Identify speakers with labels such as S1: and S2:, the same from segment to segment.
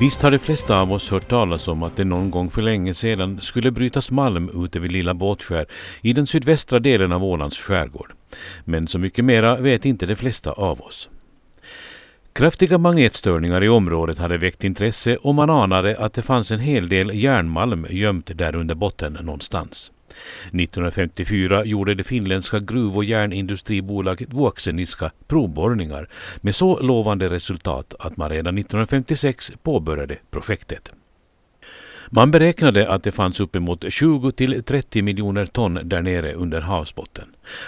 S1: Visst har de flesta av oss hört talas om att det någon gång för länge sedan skulle brytas malm ute vid Lilla Båtskär i den sydvästra delen av Ålands skärgård. Men så mycket mera vet inte de flesta av oss. Kraftiga magnetstörningar i området hade väckt intresse och man anade att det fanns en hel del järnmalm gömt där under botten någonstans. 1954 gjorde det finländska gruv och järnindustribolaget Vuokseniska provborrningar med så lovande resultat att man redan 1956 påbörjade projektet. Man beräknade att det fanns uppemot 20 till 30 miljoner ton där nere under havsbotten.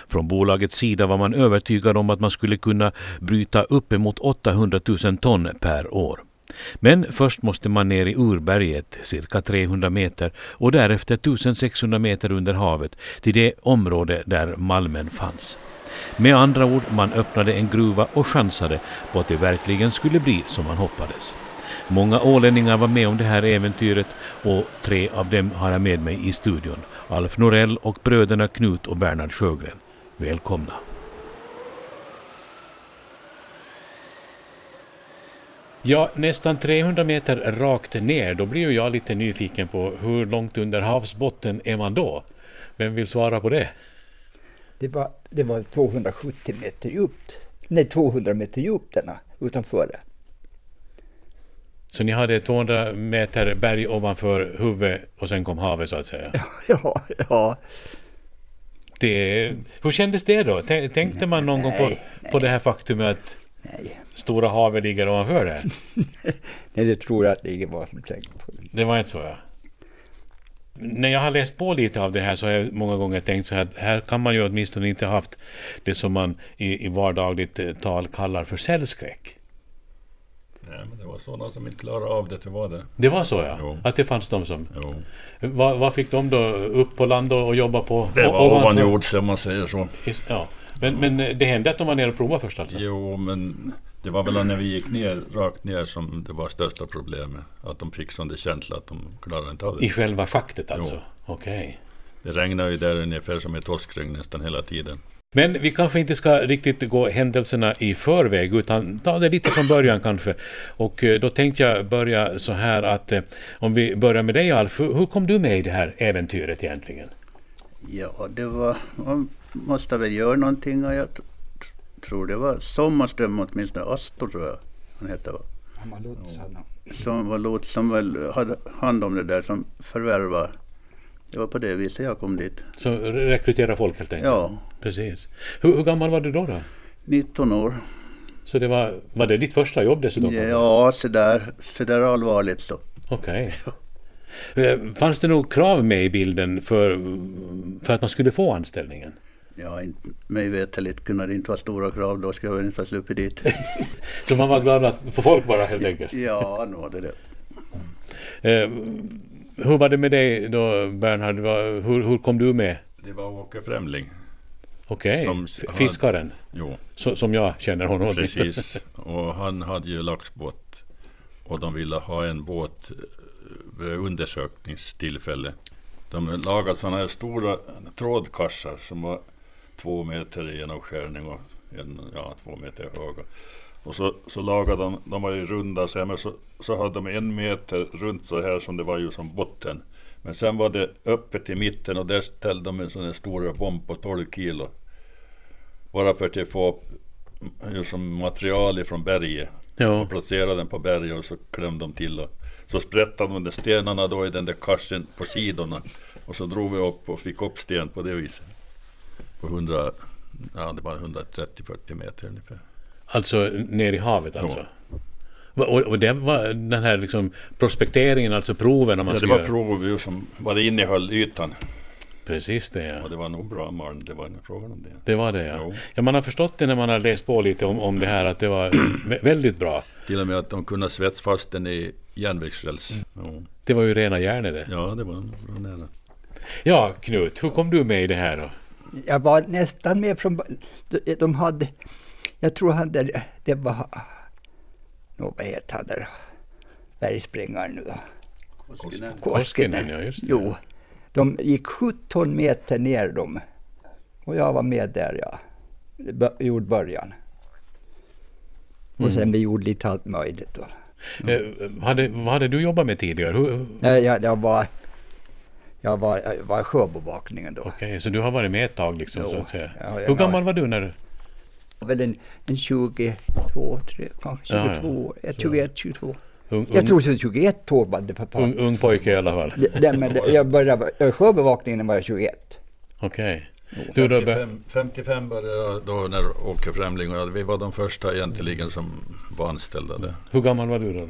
S1: Från bolagets sida var man övertygad om att man skulle kunna bryta uppemot 800 000 ton per år. Men först måste man ner i urberget cirka 300 meter och därefter 1600 meter under havet till det område där malmen fanns. Med andra ord, man öppnade en gruva och chansade på att det verkligen skulle bli som man hoppades. Många ålänningar var med om det här äventyret och tre av dem har jag med mig i studion. Alf Norell och bröderna Knut och Bernhard Sjögren. Välkomna! Ja, nästan 300 meter rakt ner, då blir ju jag lite nyfiken på hur långt under havsbotten är man då? Vem vill svara på det?
S2: Det var, det var 270 meter djupt. Nej, 200 meter djupt denna, utanför det.
S1: Så ni hade 200 meter berg ovanför huvudet och sen kom havet så att säga?
S2: Ja, ja.
S1: Det, hur kändes det då? Tän- Tänkte man någon gång på,
S2: Nej,
S1: på det här faktumet att
S2: Nej,
S1: stora havet ligger ovanför det?
S2: nej det tror jag att det ingen var som tänkte på. Det.
S1: Det var inte så ja. När jag har läst på lite av det här så har jag många gånger tänkt så här att här kan man ju åtminstone inte haft det som man i, i vardagligt eh, tal kallar för cellskräck.
S3: Nej, Eh, men det var sådana som inte klarade av det, det var det.
S1: Det var så ja,
S3: Jo.
S1: att det fanns de som...
S3: Jo.
S1: Vad vad fick de då? Upp på land och, och jobba på?
S3: Det
S1: o-
S3: var ovanjords om man säger så.
S1: Is- Ja. Men, men eh, det hände att de var nere och provade först alltså?
S3: Jo, men det var väl när vi gick ner, rakt ner som det var största problemet. Att de fick sån där känsla att de klarade inte av
S1: I
S3: det.
S1: själva schaktet alltså? Okej.
S3: Det regnade ju där ungefär som ett åskregn nästan hela tiden.
S1: Men vi kanske inte ska riktigt gå händelserna i förväg utan ta det lite från början kanske. Och eh, då tänkte jag börja så här att eh, om vi börjar med dig Alf, hur hur kom du med i det här äventyret egentligen?
S4: Ja, det var... Man måste väl göra någonting och jag tr- tr- tror det var Sommarström, åtminstone Astor tror jag han hette, va?
S2: Han var lotsarna.
S4: som var lot som väl hade hand om det där som förvärvade. Det var på det viset jag kom dit.
S1: Så re- rekrytera folk helt enkelt?
S4: Ja,
S1: Precis. Hur, hur gammal var du då? då?
S4: 19 år.
S1: Så det var, var det ditt första jobb dessutom?
S4: Ja, så där, så där allvarligt så.
S1: Okej. Eh, Fanns det något krav med i bilden för, för att man skulle få anställningen?
S4: Ja, inte, mig veterligt kunde det inte vara stora krav, då skulle jag väl inte ha sluppit dit.
S1: Så man var glad att få folk bara helt enkelt?
S4: Ja, nu var det det.
S1: Eh, hur var det med dig då Bernhard? Va- Hur, hur kom du med?
S3: Det var Åke Främling.
S1: Okej,
S3: Som-
S1: f- fiskaren.
S3: Jo,
S1: Så, som jag känner honom åtminstone.
S3: precis. Och han hade ju laxbåt. Och de ville ha en båt eh, vid undersökningstillfälle. De lagade sådana här stora trådkassar som var två meter i genomskärning och en, ja, två meter höga. Och så, så lagade de, de var ju runda så här, men så, så hade de en meter runt så här som det var ju som botten. Men sen var det öppet i mitten och där ställde de en sån här stor bomb på 12 kilo. Bara för att få upp just som material ifrån berget.
S1: Ja.
S3: Och placerade den på berget och så klämde de till. Och så sprättade de de stenarna då i den där kassen på sidorna. Och så drog vi upp och fick upp sten på det viset. På 100, ja det var 130-40 meter ungefär.
S1: Alltså ner i havet alltså.
S3: Ja.
S1: Va- Och, och det var den här liksom prospekteringen, alltså proven om man
S3: Ja, det
S1: skulle
S3: var
S1: göra.
S3: prov ju som, vad det innehöll ytan.
S1: Precis det ja.
S3: Och det var nog bra malm, det var ingen frågan om det.
S1: Det var det ja.
S3: Jo.
S1: ja. Man har förstått det när man har läst på lite om, om det här att det var vä- väldigt bra.
S3: Till och med att de kunde svetsa fast den i järnvägsräls. Jo.
S1: Det var ju rena järnet det.
S3: Ja, det var nog bra nära.
S1: Ja Knut, hur kom du med i det här då?
S2: Jag var nästan med från... de- De hade... Jag tror han där... Det var... Nå, vad heter han där? Bergsprängaren nu då?
S4: Koskinen.
S1: Koskinen, ja, just det.
S2: Jo. De gick 17 meter ner de. Och jag var med där ja.
S1: Mm.
S2: Vi gjorde början. Och sen vi gjorde lite allt möjligt då.
S1: Eh, hade, vad hade du jobbat med tidigare? Hur-
S2: Nej, jag, jag var, jag var, jag var sjöbevakningen då.
S1: Okej, så du har varit med ett tag liksom
S2: Jo,
S1: så att säga.
S2: ja, jag
S1: Hur gammal
S2: har-
S1: var du när du...
S2: Väl en, en 22, 3, kanske
S1: Ja, ja.
S2: 22 år. Ja, 21, 22.
S1: Ung, ung,
S2: Jag tror så 21 år var det för fan.
S1: ung, ung pojke i alla fall.
S2: Det- det- men det- jag började, jag- sjöbevakningen var jag 21.
S1: Okej. Du Röbe?
S3: 55, 55 började jag då när Åke Främling och jag, vi var de första egentligen som var anställda där.
S1: Hur gammal var du då?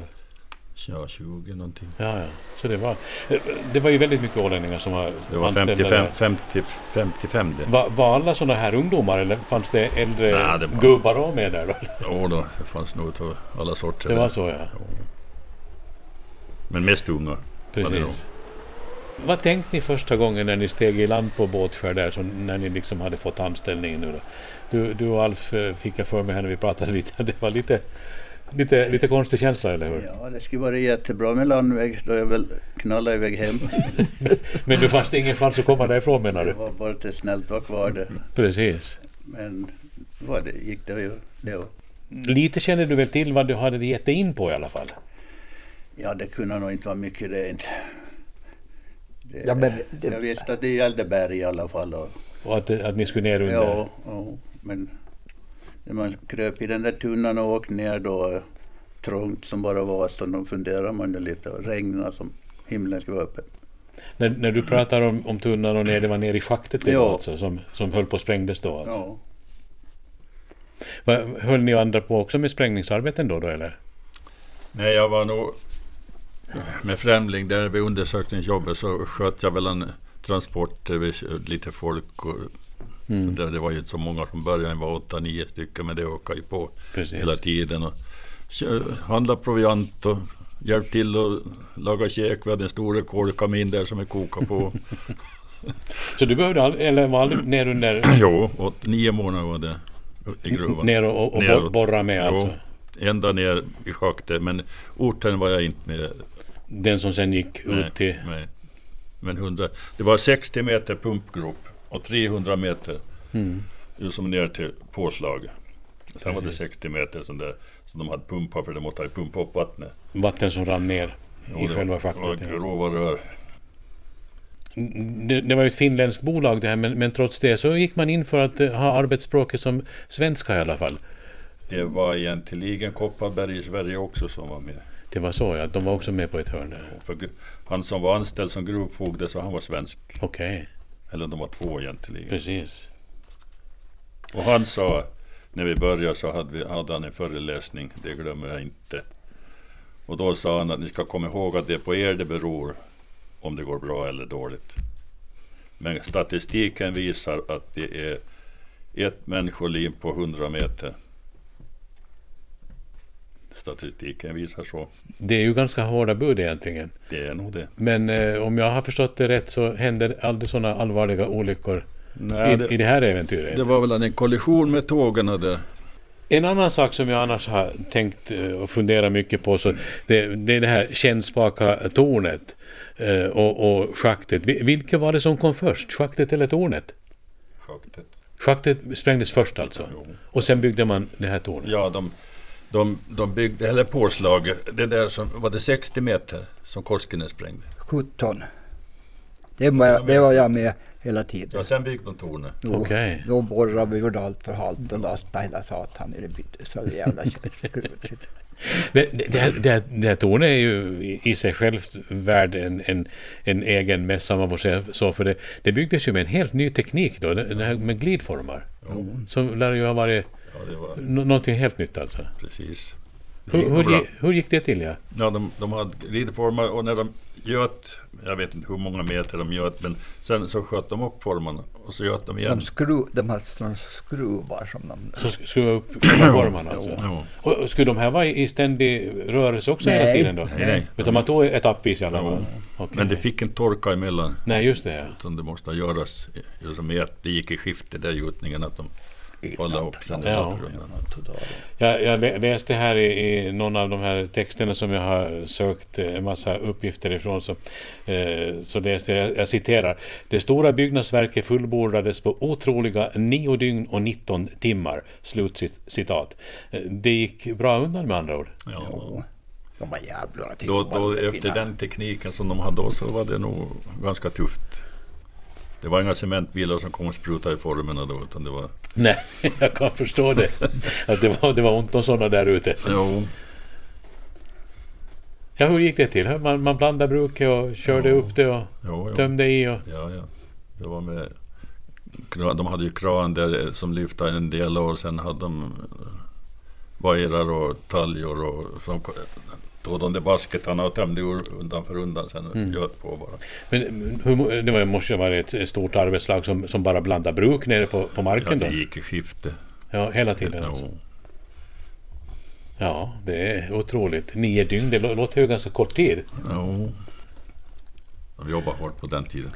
S3: Ja, 20 någonting.
S1: Ja, ja. Så det var... eh, Det var ju väldigt mycket ålänningar som var,
S3: Det var
S1: anställda
S3: 55,
S1: där.
S3: 50, 55 det.
S1: Var, var alla sådana här ungdomar eller fanns det äldre
S3: Nej, det var-
S1: gubbar också med där då?
S3: Jo då, det fanns nog av alla sorter.
S1: Det var
S3: där.
S1: så ja.
S3: Men mest unga. det nog.
S1: Precis. Vad tänkte ni första gången när ni steg i land på Båtskär där, så när ni liksom hade fått anställning nu då? Du, du och Alf eh, fick jag för mig här när vi pratade lite, att det var lite, lite, lite konstig känsla, eller hur?
S4: Ja, det skulle vara jättebra med landväg då jag väl knallade iväg hem.
S1: Men du fanns det ingen chans att komma därifrån menar
S4: Det
S1: du?
S4: var bara till snällt var kvar det.
S1: Precis.
S4: Men vad det gick det ju. Det var.
S1: Lite kände du väl till vad du hade gett dig in på i alla fall?
S4: Ja, det kunde nog inte vara mycket det inte. Det,
S2: Ja, men det-
S4: Jag visste att det gällde berg i alla fall. Och,
S1: Och att, att ni skulle ner under?
S4: ja, ja, men när man kröp i den där tunnan och åkte ner då, trångt som bara var, så då funderade man ju lite och regnade som himlen skulle vara öppen.
S1: När, när du pratar om, om tunnan och ner, det var ner i schaktet det
S4: Ja.
S1: var alltså, som, som höll på att sprängdes då? Alltså.
S4: Ja,
S1: Va- Höll ni andra på också med sprängningsarbeten då, då eller?
S3: Nej, jag var nog med Främling där vid undersökningsjobbet så sköt jag väl en transport över lite folk. Och
S1: Mm.
S3: det, det var ju inte så många från början, det var åtta, nio stycken, men det ökade ju på
S1: Precis.
S3: hela tiden. Och kö- handla proviant och hjälp till att laga käk. Vi hade en stor kolkamin där som vi kokade på.
S1: Så du behövde aldrig, eller var aldrig ner under,
S3: jo, och nio månader var det i gruvan.
S1: ner och, och, och bor-
S3: Neråt.
S1: borra med
S3: Jo,
S1: alltså?
S3: Ända ner i schaktet, men orten var jag inte med
S1: Den som sen gick
S3: Nej,
S1: ut till...
S3: nej. Men 100, det var 60 meter pumpgrop och 300 meter mm. som ner till påslag. Sen var det 60 meter som, där, som de hade pumpat för de måste ha pumpat upp vattnet.
S1: Vatten som rann ner i
S3: Och det
S1: själva
S3: var
S1: schaktet. ja.
S3: grova rör.
S1: Det, det var ju ett finländskt bolag det här men, men trots det så gick man in för att eh, ha arbetsspråket som svenska i alla fall.
S3: Det var egentligen Kopparberg i Sverige också som var med.
S1: Det var så ja, att de var också med på ett hörn där.
S3: För gru- han som var anställd som grovfogde så han var svensk.
S1: Okej,
S3: Eller de var två egentligen.
S1: precis.
S3: Och han sa, när vi började så hade, vi, hade han en föreläsning, det glömmer jag inte. Och då sa han att ni ska komma ihåg att det är på er det beror om det går bra eller dåligt. Men statistiken visar att det är ett människoliv på 100 meter. Statistiken visar så.
S1: Det är ju ganska hårda bud egentligen.
S3: Det är nog det.
S1: Men eh, om jag har förstått det rätt så händer aldrig sådana allvarliga olyckor
S3: Nej,
S1: i,
S3: det,
S1: i det här äventyret.
S3: det var väl en kollision med tågen där.
S1: En annan sak som jag annars har tänkt eh, och funderat mycket på så det, det är det här kännspaka tornet eh, och, och schaktet. Vi- Vilket var det som kom först, schaktet eller tornet?
S3: Schaktet.
S1: Schaktet sprängdes först alltså och sen byggde man det här tornet.
S3: Ja, de, de, de byggde, eller påslag, det där som, var det 60 meter som Koskinen sprängde?
S2: 17. Det var, jag, det var jag med hela tiden.
S3: Ja, sen byggde de tornet.
S2: Då,
S1: Okej.
S2: då borrade vi och gjorde allt för halt och lastade hela satan i det bytet. Så det jävla skrutet.
S1: Men det, det, här, det, här, det här tornet är ju i- i sig självt värd en, en, en egen mässa om man får säga så. För det, det byggdes ju med en helt ny teknik då, den den här med glidformar. Som lär ju ha varit
S3: Ja, det var
S1: nå- någonting helt nytt alltså.
S3: precis. Det gick
S1: Hur, hur,
S3: bra.
S1: gi- hur gick det till ja?
S3: Ja, de, de hade glidformar och när de göt, jag vet inte hur många meter de göt, men sen så sköt de upp formarna och så göt de igen.
S2: De, skru, de hade såna skruvar som de...
S1: Så sk- skruva upp själva formen alltså?
S3: Ja.
S1: Och och skulle de här vara i i ständig rörelse också hela
S2: Nej.
S1: tiden då?
S3: Nej, nej.
S1: Utan man tog etappvis i alla fall? Okej.
S3: Men det fick en torka emellan
S1: Nej, just det ja.
S3: som det måste göras. i- Som i att det gick i skifte där gjutningen, att de håller upp sen.
S1: Ja. Jag, jag lä- läste här i, i någon av de här texterna som jag har sökt eh, en massa uppgifter ifrån. Så, eh, så läste jag, jag citerar. Det stora byggnadsverket fullbordades på otroliga nio dygn och 19 timmar. Slut cit- citat. Eh, Det gick bra undan med andra ord.
S3: Ja.
S2: Jo. De var jävla till
S3: Då,
S2: de var
S3: då,
S2: fina.
S3: efter den tekniken som de hade då så var det nog ganska tufft. Det var inga cementbilar som kom och sprutade i formerna då utan det var...
S1: Nej, jag kan förstå det. Att det, var, det var ont om sådana där ute.
S3: Jo,
S1: Ja, hur gick det till? Man, man blandade bruket och körde upp det och
S3: jo, jo.
S1: tömde i och...
S3: Ja, ja. Det var med... kra- De hade ju kran där eh, som lyfte en del och sen hade de eh, vajrar och taljor och som tog de där basketarna och tömde ur undan för undan sen och göt på bara.
S1: Men hur, mo- det var- måste ju ha varit ett stort arbetslag som, som bara blandade bruk nere på, på
S3: Ja,
S1: marken då?
S3: det gick i skifte.
S1: Ja, hela tiden alltså.
S3: Jo.
S1: Ja, det är otroligt. Nio dygn, det lå- låter ju ganska kort tid.
S3: Jo. De jobbade hårt på den tiden.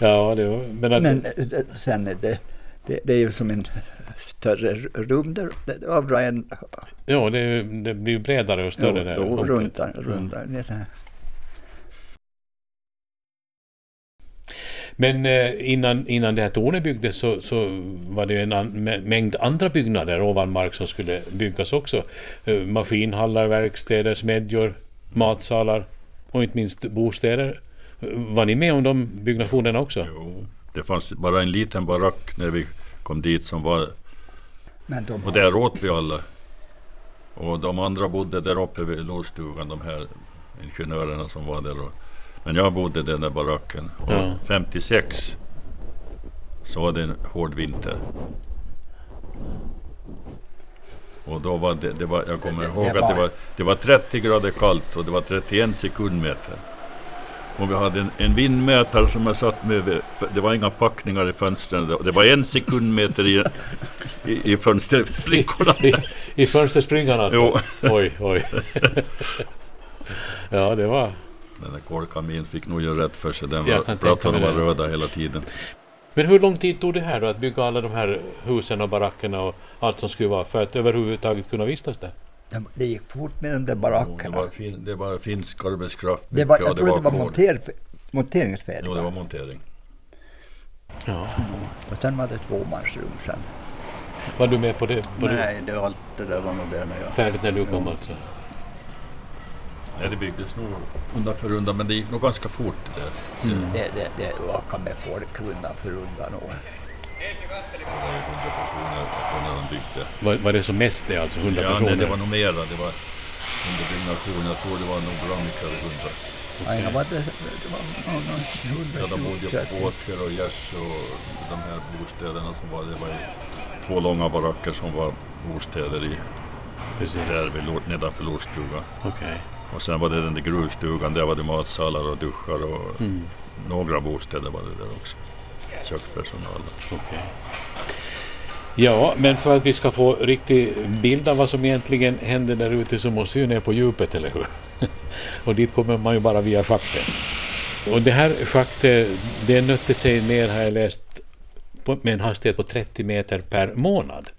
S1: Ja, det var, men, att,
S2: Men eh, det- sen är det, det, det är ju som en större rum där. Det var bra en
S1: ja, det, är ju- det blir ju bredare och större där. Mm.
S2: jo,
S1: kompet.
S2: runt där. Runt där. Det är så här.
S1: Men eh, innan, innan det här tornet byggdes så, så var det ju en an, mä- mängd andra byggnader ovan mark som skulle byggas också. Eh, Maskinhallar, verkstäder, smedjor, matsalar och inte minst bostäder. Eh, Var ni med om de byggnationerna också?
S3: Jo. Det fanns bara en liten barack när vi kom dit som var...
S2: Men de
S3: Och där åt vi alla. Och de andra bodde där uppe vid lådstugan, de här ingenjörerna som var där. Och, men jag bodde i den där baracken. Och
S1: Ja.
S3: 56 så var det en hård vinter. Och då var det, det var, jag kommer
S2: Det- det
S3: ihåg att det
S2: var-
S3: var, det var 30 grader kallt och det var 31 sekundmeter. Och vi hade en, en vindmätare som jag satt med. vid- för Det var inga packningar i fönstren. Det- Det var en sekundmeter i, i, i fönstersprickorna.
S1: I, i fönsterspringan alltså?
S3: Jo,
S1: Oj, oj. ja, det var...
S3: den där kolkamin fick nog göra rätt för sig. Den
S1: Jag
S3: var,
S1: kan tänka
S3: plattorna
S1: mig
S3: var
S1: det.
S3: röda hela tiden.
S1: Men hur lång tid tog det här då att bygga alla de här husen och barackerna och allt som skulle vara för att överhuvudtaget kunna vistas där?
S2: De, det gick fort med de där
S3: Och Det
S2: barackerna.
S3: var, fin, det var finsk arbetskraft.
S2: Det var,
S3: mycket,
S2: jag
S3: och
S2: tror det var
S3: kol.
S2: monter, monteringsfärdigt.
S3: Jo, det var montering.
S1: Ja.
S2: Och sen var det tvåmansrum sen.
S1: Var du med på det? Var du
S4: Nej, det, allt det där var nog det när jag...
S1: färdigt när du kom alltså?
S3: Nej, det byggdes nog undan för undan, men det gick nog ganska fort det där.
S2: Det, det, det åka med folk undan för undan. Och,
S3: Det var ju 100 personer när de byggde.
S1: Var, var det som mest det alltså? 100
S3: Ja,
S1: personer?
S3: nej, det var nog mera. Det var under byggnation. Jag tror det var nog bra mycket över hundra.
S2: ja, jag var det, det var någon
S3: Ja, de bodde ju på
S2: 120
S3: Båtsfjärd och Gärs och de här bostäderna som var. Det var ju två långa baracker som var bostäder i,
S1: Precis.
S3: där vid, Lo- nedanför Lorstuga.
S1: Okej.
S3: Och sen var det den där gruvstugan. Där var det matsalar och duschar och
S1: Mm.
S3: några bostäder var det där också. Kökspersonal.
S1: Okej. Ja, men för att vi ska få riktig bild av vad som egentligen händer där ute så måste vi ju ner på djupet, eller hur? Och dit kommer man ju bara via schaktet. Och det här schaktet, det nötte sig ner, har jag läst, på, med en hastighet på 30 meter per månad.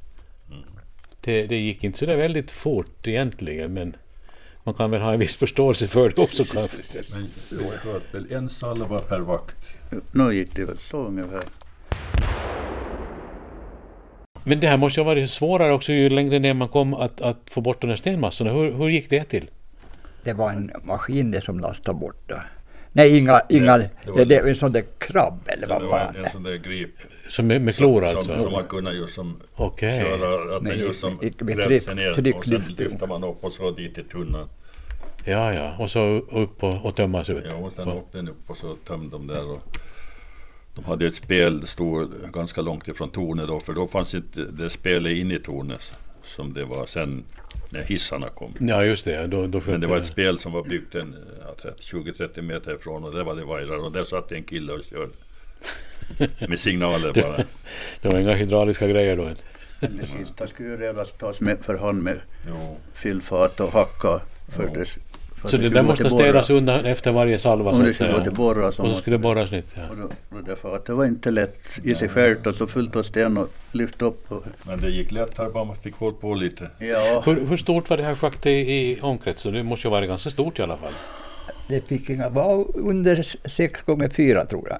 S1: Det, det gick inte så där väldigt fort egentligen, men man kan väl ha en viss förståelse för det också kanske.
S3: Men jag tror att väl en salva per vakt.
S4: Nu gick det väl så ungefär.
S1: Men det här måste ju ha varit svårare också ju längre ner man kom att, att få bort de där stenmassorna. Hur, hur gick det till?
S2: Det var en maskin det som lastade bort. Då. Nej, inga, inga,
S3: det
S2: det,
S3: var-
S2: det, var en sån där krabb eller
S3: Det
S2: vad
S3: var en,
S2: fan.
S3: en sån där grip.
S1: Som med, med klor alltså?
S3: Som, som man kunde ju som
S1: Okej.
S3: köra, att man
S2: Med-
S3: just som
S2: med- med
S3: grävde
S2: tryck-
S3: sig ner och sen
S2: trycklyftning.
S3: lyfte man upp och så dit i tunnan.
S1: Ja, ja. Och så upp och, och tömmas ut?
S3: Ja, och sen åkte den upp och så tömde de där. Och de hade ett spel, stod ganska långt ifrån tornet då, för då fanns inte det spelet in i tornet som det var sen när hissarna kom.
S1: ja just det. Då, då
S3: Men
S1: sköt
S3: det var ett spel som var byggt en ja, 30 20-30 meter ifrån och där var det vajrar och där satt en kille och körde. Med signaler bara.
S1: det var inga hydrauliska grejer då inte?
S4: Men det sista skulle ju redan tas med för hand med
S3: Jo.
S4: fyllfat och hacka. För
S3: Ja.
S4: det, för
S1: Så det
S4: skulle
S1: där
S4: gå
S1: måste
S4: till borra.
S1: städas undan efter varje salva
S4: Om
S1: så
S4: det
S1: att
S4: skulle gå
S1: säga.
S4: till borra så
S1: Och så
S4: måste
S1: skulle det borras nytt. Ja.
S4: och då, och därför att det var inte lätt i sig självt och så fullt av sten och lyfta upp. Och,
S3: Men det gick lättare bara man fick håll på lite.
S4: ja,
S1: Hur, hur stort var det här schaktet i omkrets? Så Det måste ju ha varit ganska stort i alla fall.
S2: Det fick inga, var under 6 gånger 4 tror jag.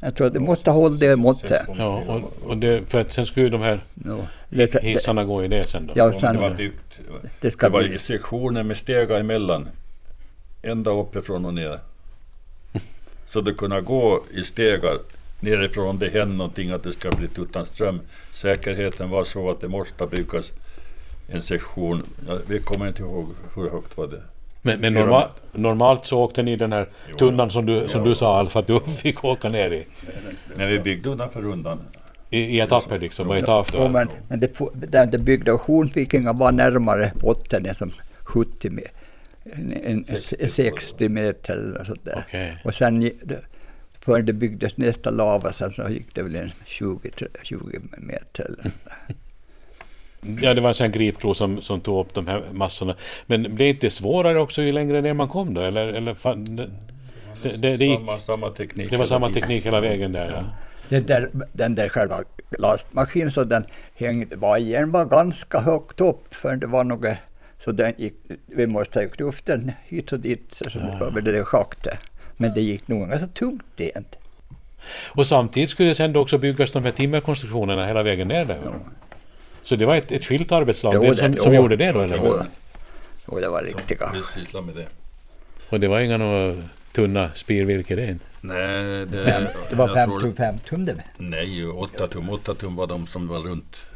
S2: Jag tror att det måste hålla det måttet.
S1: Ja, och, och det, för att sen skulle ju de här
S2: Ja, det, det,
S1: hissarna gå i det sen då.
S2: ja,
S3: Ja, men det var
S2: sen,
S3: djupt. Det var-
S2: det
S3: Det
S2: ska
S3: var
S2: bli...
S3: i sektioner med stegar emellan. Ända uppifrån och ner. Så du kunde gå i stegar nerifrån om det hände någonting att det ska bli utan ström. Säkerheten var så att det måste byggas en sektion. Ja, vi kommer inte ihåg hur högt var det.
S1: Men, men
S3: Fyra
S1: norma, normalt så åkte ni i den här
S3: Jo.
S1: tunnan som du, som
S3: Ja.
S1: du sa Alf att du fick åka ner i.
S3: Men vi byggde undan för undan.
S1: I, i etapper liksom, och etapp
S2: Ja,
S1: då.
S2: men, men det, får- den det byggda av Hornvikingar var närmare botten än som 70 meter. En, en,
S3: 60
S2: 60, 60 meter eller något sånt där.
S1: Okej.
S2: Och sen gick det- förrän det byggdes nästa lava sen så gick det väl en 20, 20 meter eller något där.
S1: Ja, det var en sån här gripklo som, som tog upp de här massorna. Men blev inte svårare också ju längre ner man kom då? Eller, eller fan, det, det, det, det, gick,
S3: Samma, samma teknik.
S1: det var samma teknik hela vägen där ja.
S2: Den där, den där själva lastmaskinen så den hängde, vajern var ganska högt upp för det var något, så den gick, vi måste ha gjort luften hit och dit så, så det var väl det där schaktet. Men det gick nog ganska tungt det inte.
S1: Och samtidigt skulle det sen då också byggas de här timmerkonstruktionerna hela vägen ner där. Så det var ett, ett skilt arbetslag
S2: Jo,
S1: det,
S2: det-
S1: som, som
S2: jo.
S1: gjorde det då? Eller?
S2: Jo, jo, det var riktiga.
S3: Vi sysslar med det.
S1: Och det var inga några tunna spirvirke det inte.
S3: Nej, det,
S2: Det var
S3: jag
S2: fem
S3: tror-
S2: tum, fem tum det.
S3: Nej, 8 tum. 8 tum var de som var runt.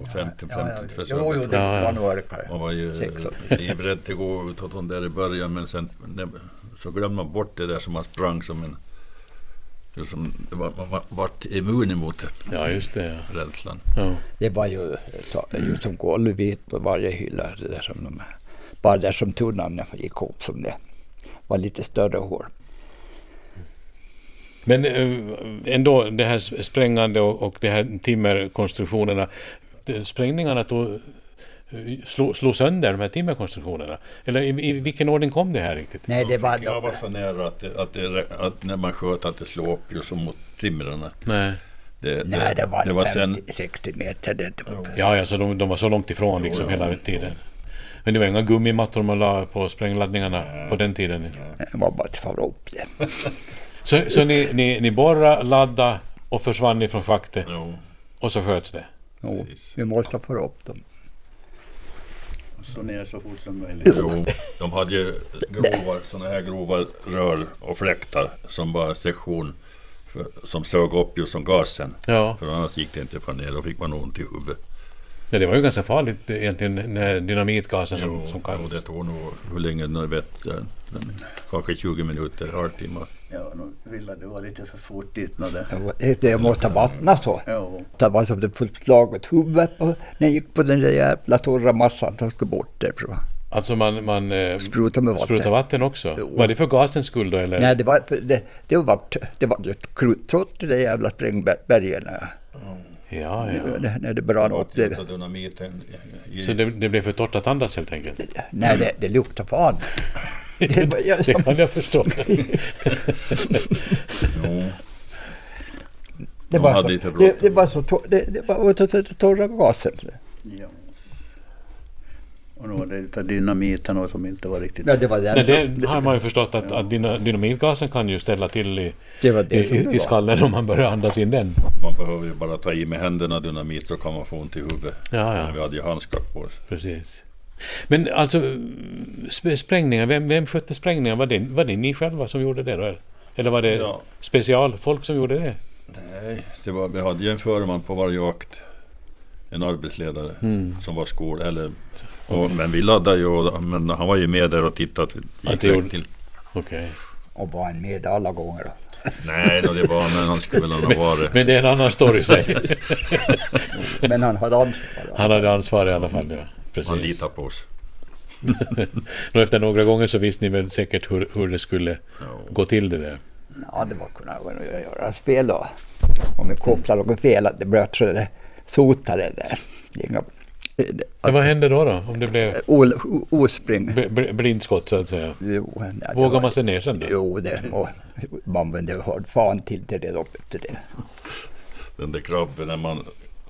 S3: Och 50 tum, 50 tum.
S2: Jo, jo, det
S1: Ja, ja.
S2: var nog örkare.
S3: Man var ju
S2: Sex år.
S3: livrädd att gå utåt de där i början men sen när, så glömde man bort det där som man sprang som en... det Som, det var, man var, vart immun emot det,
S1: Ja, just det. Ja.
S3: rädslan.
S1: Ja.
S2: Det var ju, så, ju som golvvit på varje hylla. Det där som de, bara där som tunnan gick upp som det var lite större hål.
S1: Men eh, ändå det här sprängande och, och de här timmerkonstruktionerna. de- Sprängningarna tog, eh, slog, slog sönder de här timmerkonstruktionerna. Eller i, i vilken ordning kom det här riktigt?
S2: Nej, det var...
S3: Jag var så nära att, det, att, det, att när man sköt att det slog upp just mot timrarna.
S1: Nej.
S3: Det,
S2: Nej, det var,
S3: det var sen...
S2: 60 meter. Det, det var,
S1: Ja, ja, så de, de var så långt ifrån liksom hela tiden. Men det var inga gummimattor man la på sprängladdningarna på den tiden.
S2: det var bara att fara upp det.
S1: Så, så ni, ni, ni borra, ladda och försvann ifrån schaktet
S3: Jo,
S1: och så sköts det?
S2: Jo,
S3: Precis.
S2: vi måste få upp dem.
S4: Så ner så fort som möjligt.
S3: jo, de hade ju grova, såna här grova rör och fläktar som var sektion för, som sög upp ju som gasen.
S1: Ja.
S3: För annars gick det inte för ner, då fick man ont i huvudet.
S1: ja. Det var ju ganska farligt egentligen, den här dynamitgasen som, som
S3: jo,
S1: kallades.
S3: det tog nog, hur länge nu vet jag, men kanske 20 minuter, halvtimme.
S4: Ja, nu ville det vara lite för fort dit när det...
S2: Det var- Det, det måste vattna så.
S4: Ja,
S2: Det var som det fullt slaget huvudet på, när jag gick på den där jävla torra massan som skulle bort därifrån.
S1: Alltså man, man eh,
S2: Spruta med vatten.
S1: sprutar vatten också?
S2: Jo.
S1: Var det för gasens skull då eller?
S2: Nej, det var, det, det var, det var ju ett kruttrott i de jävla sprängbergen.
S1: Ja, ja.
S2: Det- När det brann upp. Det,
S3: dynamiten i,
S1: Så det, det blev för torrt att andas helt enkelt?
S2: nej, det, det luktar fan. Det var- jag-
S1: det kan jag förstå.
S3: jo,
S2: Det
S3: De
S2: var
S3: hade inte
S2: så,
S3: bråttom.
S2: det, det var så tor- det, det var åt- åt- åt- torra gasen.
S4: ja. Och då var det lite dynamiten och som inte var riktigt...
S2: Ja, det var den
S1: Nej,
S2: som-
S1: det har man ju förstått att, att dyna- dynamitgasen kan ju ställa till i,
S2: det var
S1: i,
S2: det som det
S1: i, i
S2: var.
S1: skallen om man börjar andas in den.
S3: man behöver ju bara ta i med händerna dynamit så kan man få ont i huvudet.
S1: Ja, ja.
S3: Men Vi hade ju handskar på oss.
S1: Precis. Men alltså sp- sprängningar, vem, vem skötte sprängningar? Var det, var det ni själva som gjorde det då? eller? Eller var det
S3: Ja.
S1: specialfolk som gjorde det?
S3: Nej, det var, vi hade ju en förman på varje jakt. En arbetsledare som var skol... Eller, och, men vi laddade ju, och- men han var ju med där och tittade. att vi
S1: Att det
S3: gick
S1: gjorde-
S3: rätt till.
S1: Okej.
S2: Och var han med alla gånger. då?
S3: Nej, då det var men han skulle väl ha varit.
S1: Men det är en annan story sig.
S2: Men han hade ansvar. då.
S1: Han hade ansvar i alla fall. Ja.
S3: Han
S1: Precis.
S3: litade på oss.
S1: Och efter några gånger så visste ni väl säkert hur, hur det skulle
S3: Ja.
S1: gå till det där.
S2: Ja, det var kunna gå och göra spel då. Om vi kopplar något fel, att det blöt så det sotade där. Inga, det,
S1: Men vad hände då, då om det blev
S2: ol, o- ospring.
S1: bl- bl- blindskott så att säga?
S2: Jo, nej, det
S1: Vågar
S2: var-
S1: man sig ner sen då?
S2: Jo, det må man men det hörde fan till det där uppe till det.
S3: Den där krabben när man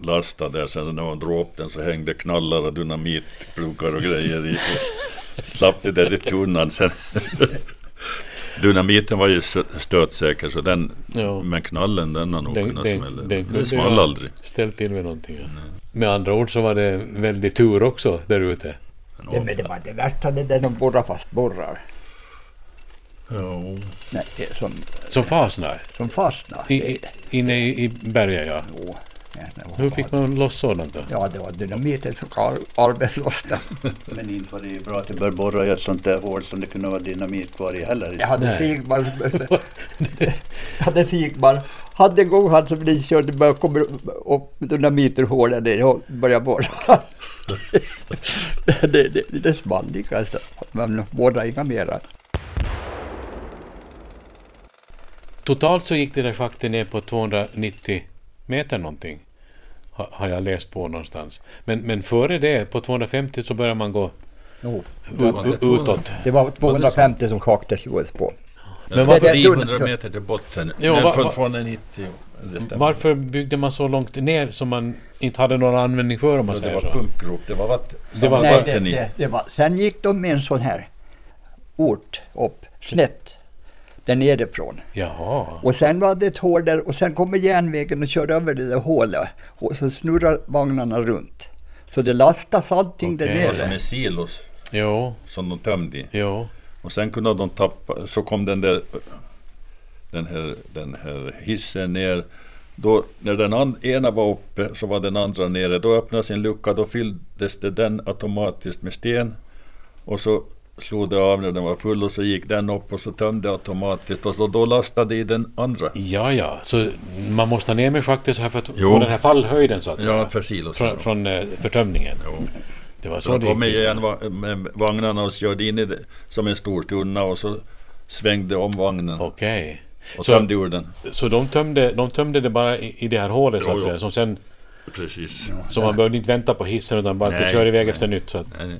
S3: lastade där, sen när man drog upp den så hängde knallar och dynamitpluggar och grejer i. Slapp det där i tunnan sen. Dynamiten var ju s- stötsäker, så den,
S1: Ja.
S3: men knallen den har nog
S1: Den,
S3: kunnat
S1: den,
S3: smälla.
S1: den,
S3: Den,
S1: kunde ju
S3: small
S1: ha
S3: aldrig.
S1: ställt till med någonting. Ja. Med andra ord så var det väldigt tur också där ute.
S2: Det, men det var det värsta det där de borrar fast borrar.
S3: Ja.
S2: Nej, det, som,
S1: Som fastnar
S2: som fastnar.
S1: i, i, inne i, i bergen, ja.
S2: Jo, nej, nej, vad
S1: Hur
S2: fan.
S1: fick man loss sådant då?
S2: Ja, det var dynamiten som ar- arbetslossnade.
S4: Men inte var det ju bra att det började borra i ett sånt där hål som det kunde vara dynamit kvar i heller.
S2: Jag hade
S1: Nej.
S2: sigmar. Jag hade sigmar. Hade en gång han som ni körde började komma upp dynamiterhålen där och började borra. det, det, det, det spann inte alltså. Man borrade inga mera.
S1: Totalt så gick det där schaktet ner på 290 meter någonting. Ha, har jag läst på någonstans. Men, men före det, på 250 så börjar man gå
S2: Jo,
S1: u, u, utåt.
S2: det var 250 som schaktet gjordes på.
S1: Men
S3: Men
S1: varför-
S3: 300 meter till botten.
S1: Jo,
S3: men
S1: va-
S3: från,
S1: va-
S3: från en 90. Det stämmer.
S1: Varför byggde man så långt ner som man inte hade någon användning för om man
S3: Ja, Det
S1: säger
S3: var
S1: så?
S3: pumpgrop. Det var vatten.
S1: Det var
S2: Nej, det,
S3: vatten i.
S2: det, det var. Sen gick de med en sån här ort upp, snett, där nerifrån.
S1: Jaha.
S2: Och sen var det ett hål där och sen kommer järnvägen och kör över det där hålet och så snurrar vagnarna runt. Så det lastas allting där
S1: Okej.
S3: Det var som
S2: nere.
S3: en silos
S1: Jo,
S3: som de tömde i.
S1: jo.
S3: Och sen kunde de tappa, så kom den där, den här, den här hissen ner. Då, när den an, ena var uppe så var den andra nere. Då öppnades en lucka, då fylldes det den automatiskt med sten. Och så slog det av när den var full och så gick den upp och så tömde automatiskt och så då lastade i den andra.
S1: Ja, ja. Så man måste ha ner med schaktet så här för att
S3: Jo.
S1: få den här fallhöjden så att säga.
S3: Ja, för silos.
S1: Från, från eh, förtömningen.
S3: Jo.
S1: Det var
S3: Så
S1: så
S3: de
S1: det gick
S3: kom
S1: till.
S3: igen va- med vagnarna och körde in i det som en stor tunna och så svängde om vagnen
S1: Okej.
S3: och
S1: Så,
S3: tömde ur den.
S1: så de, tömde, de tömde det bara i, i det här hålet så
S3: Jo,
S1: att
S3: jo.
S1: säga. Som sen,
S3: Precis.
S1: så man behövde inte vänta på hissen utan bara att det
S3: Nej,
S1: kör iväg
S3: nej.
S1: efter nytt. Så att,
S3: Nej,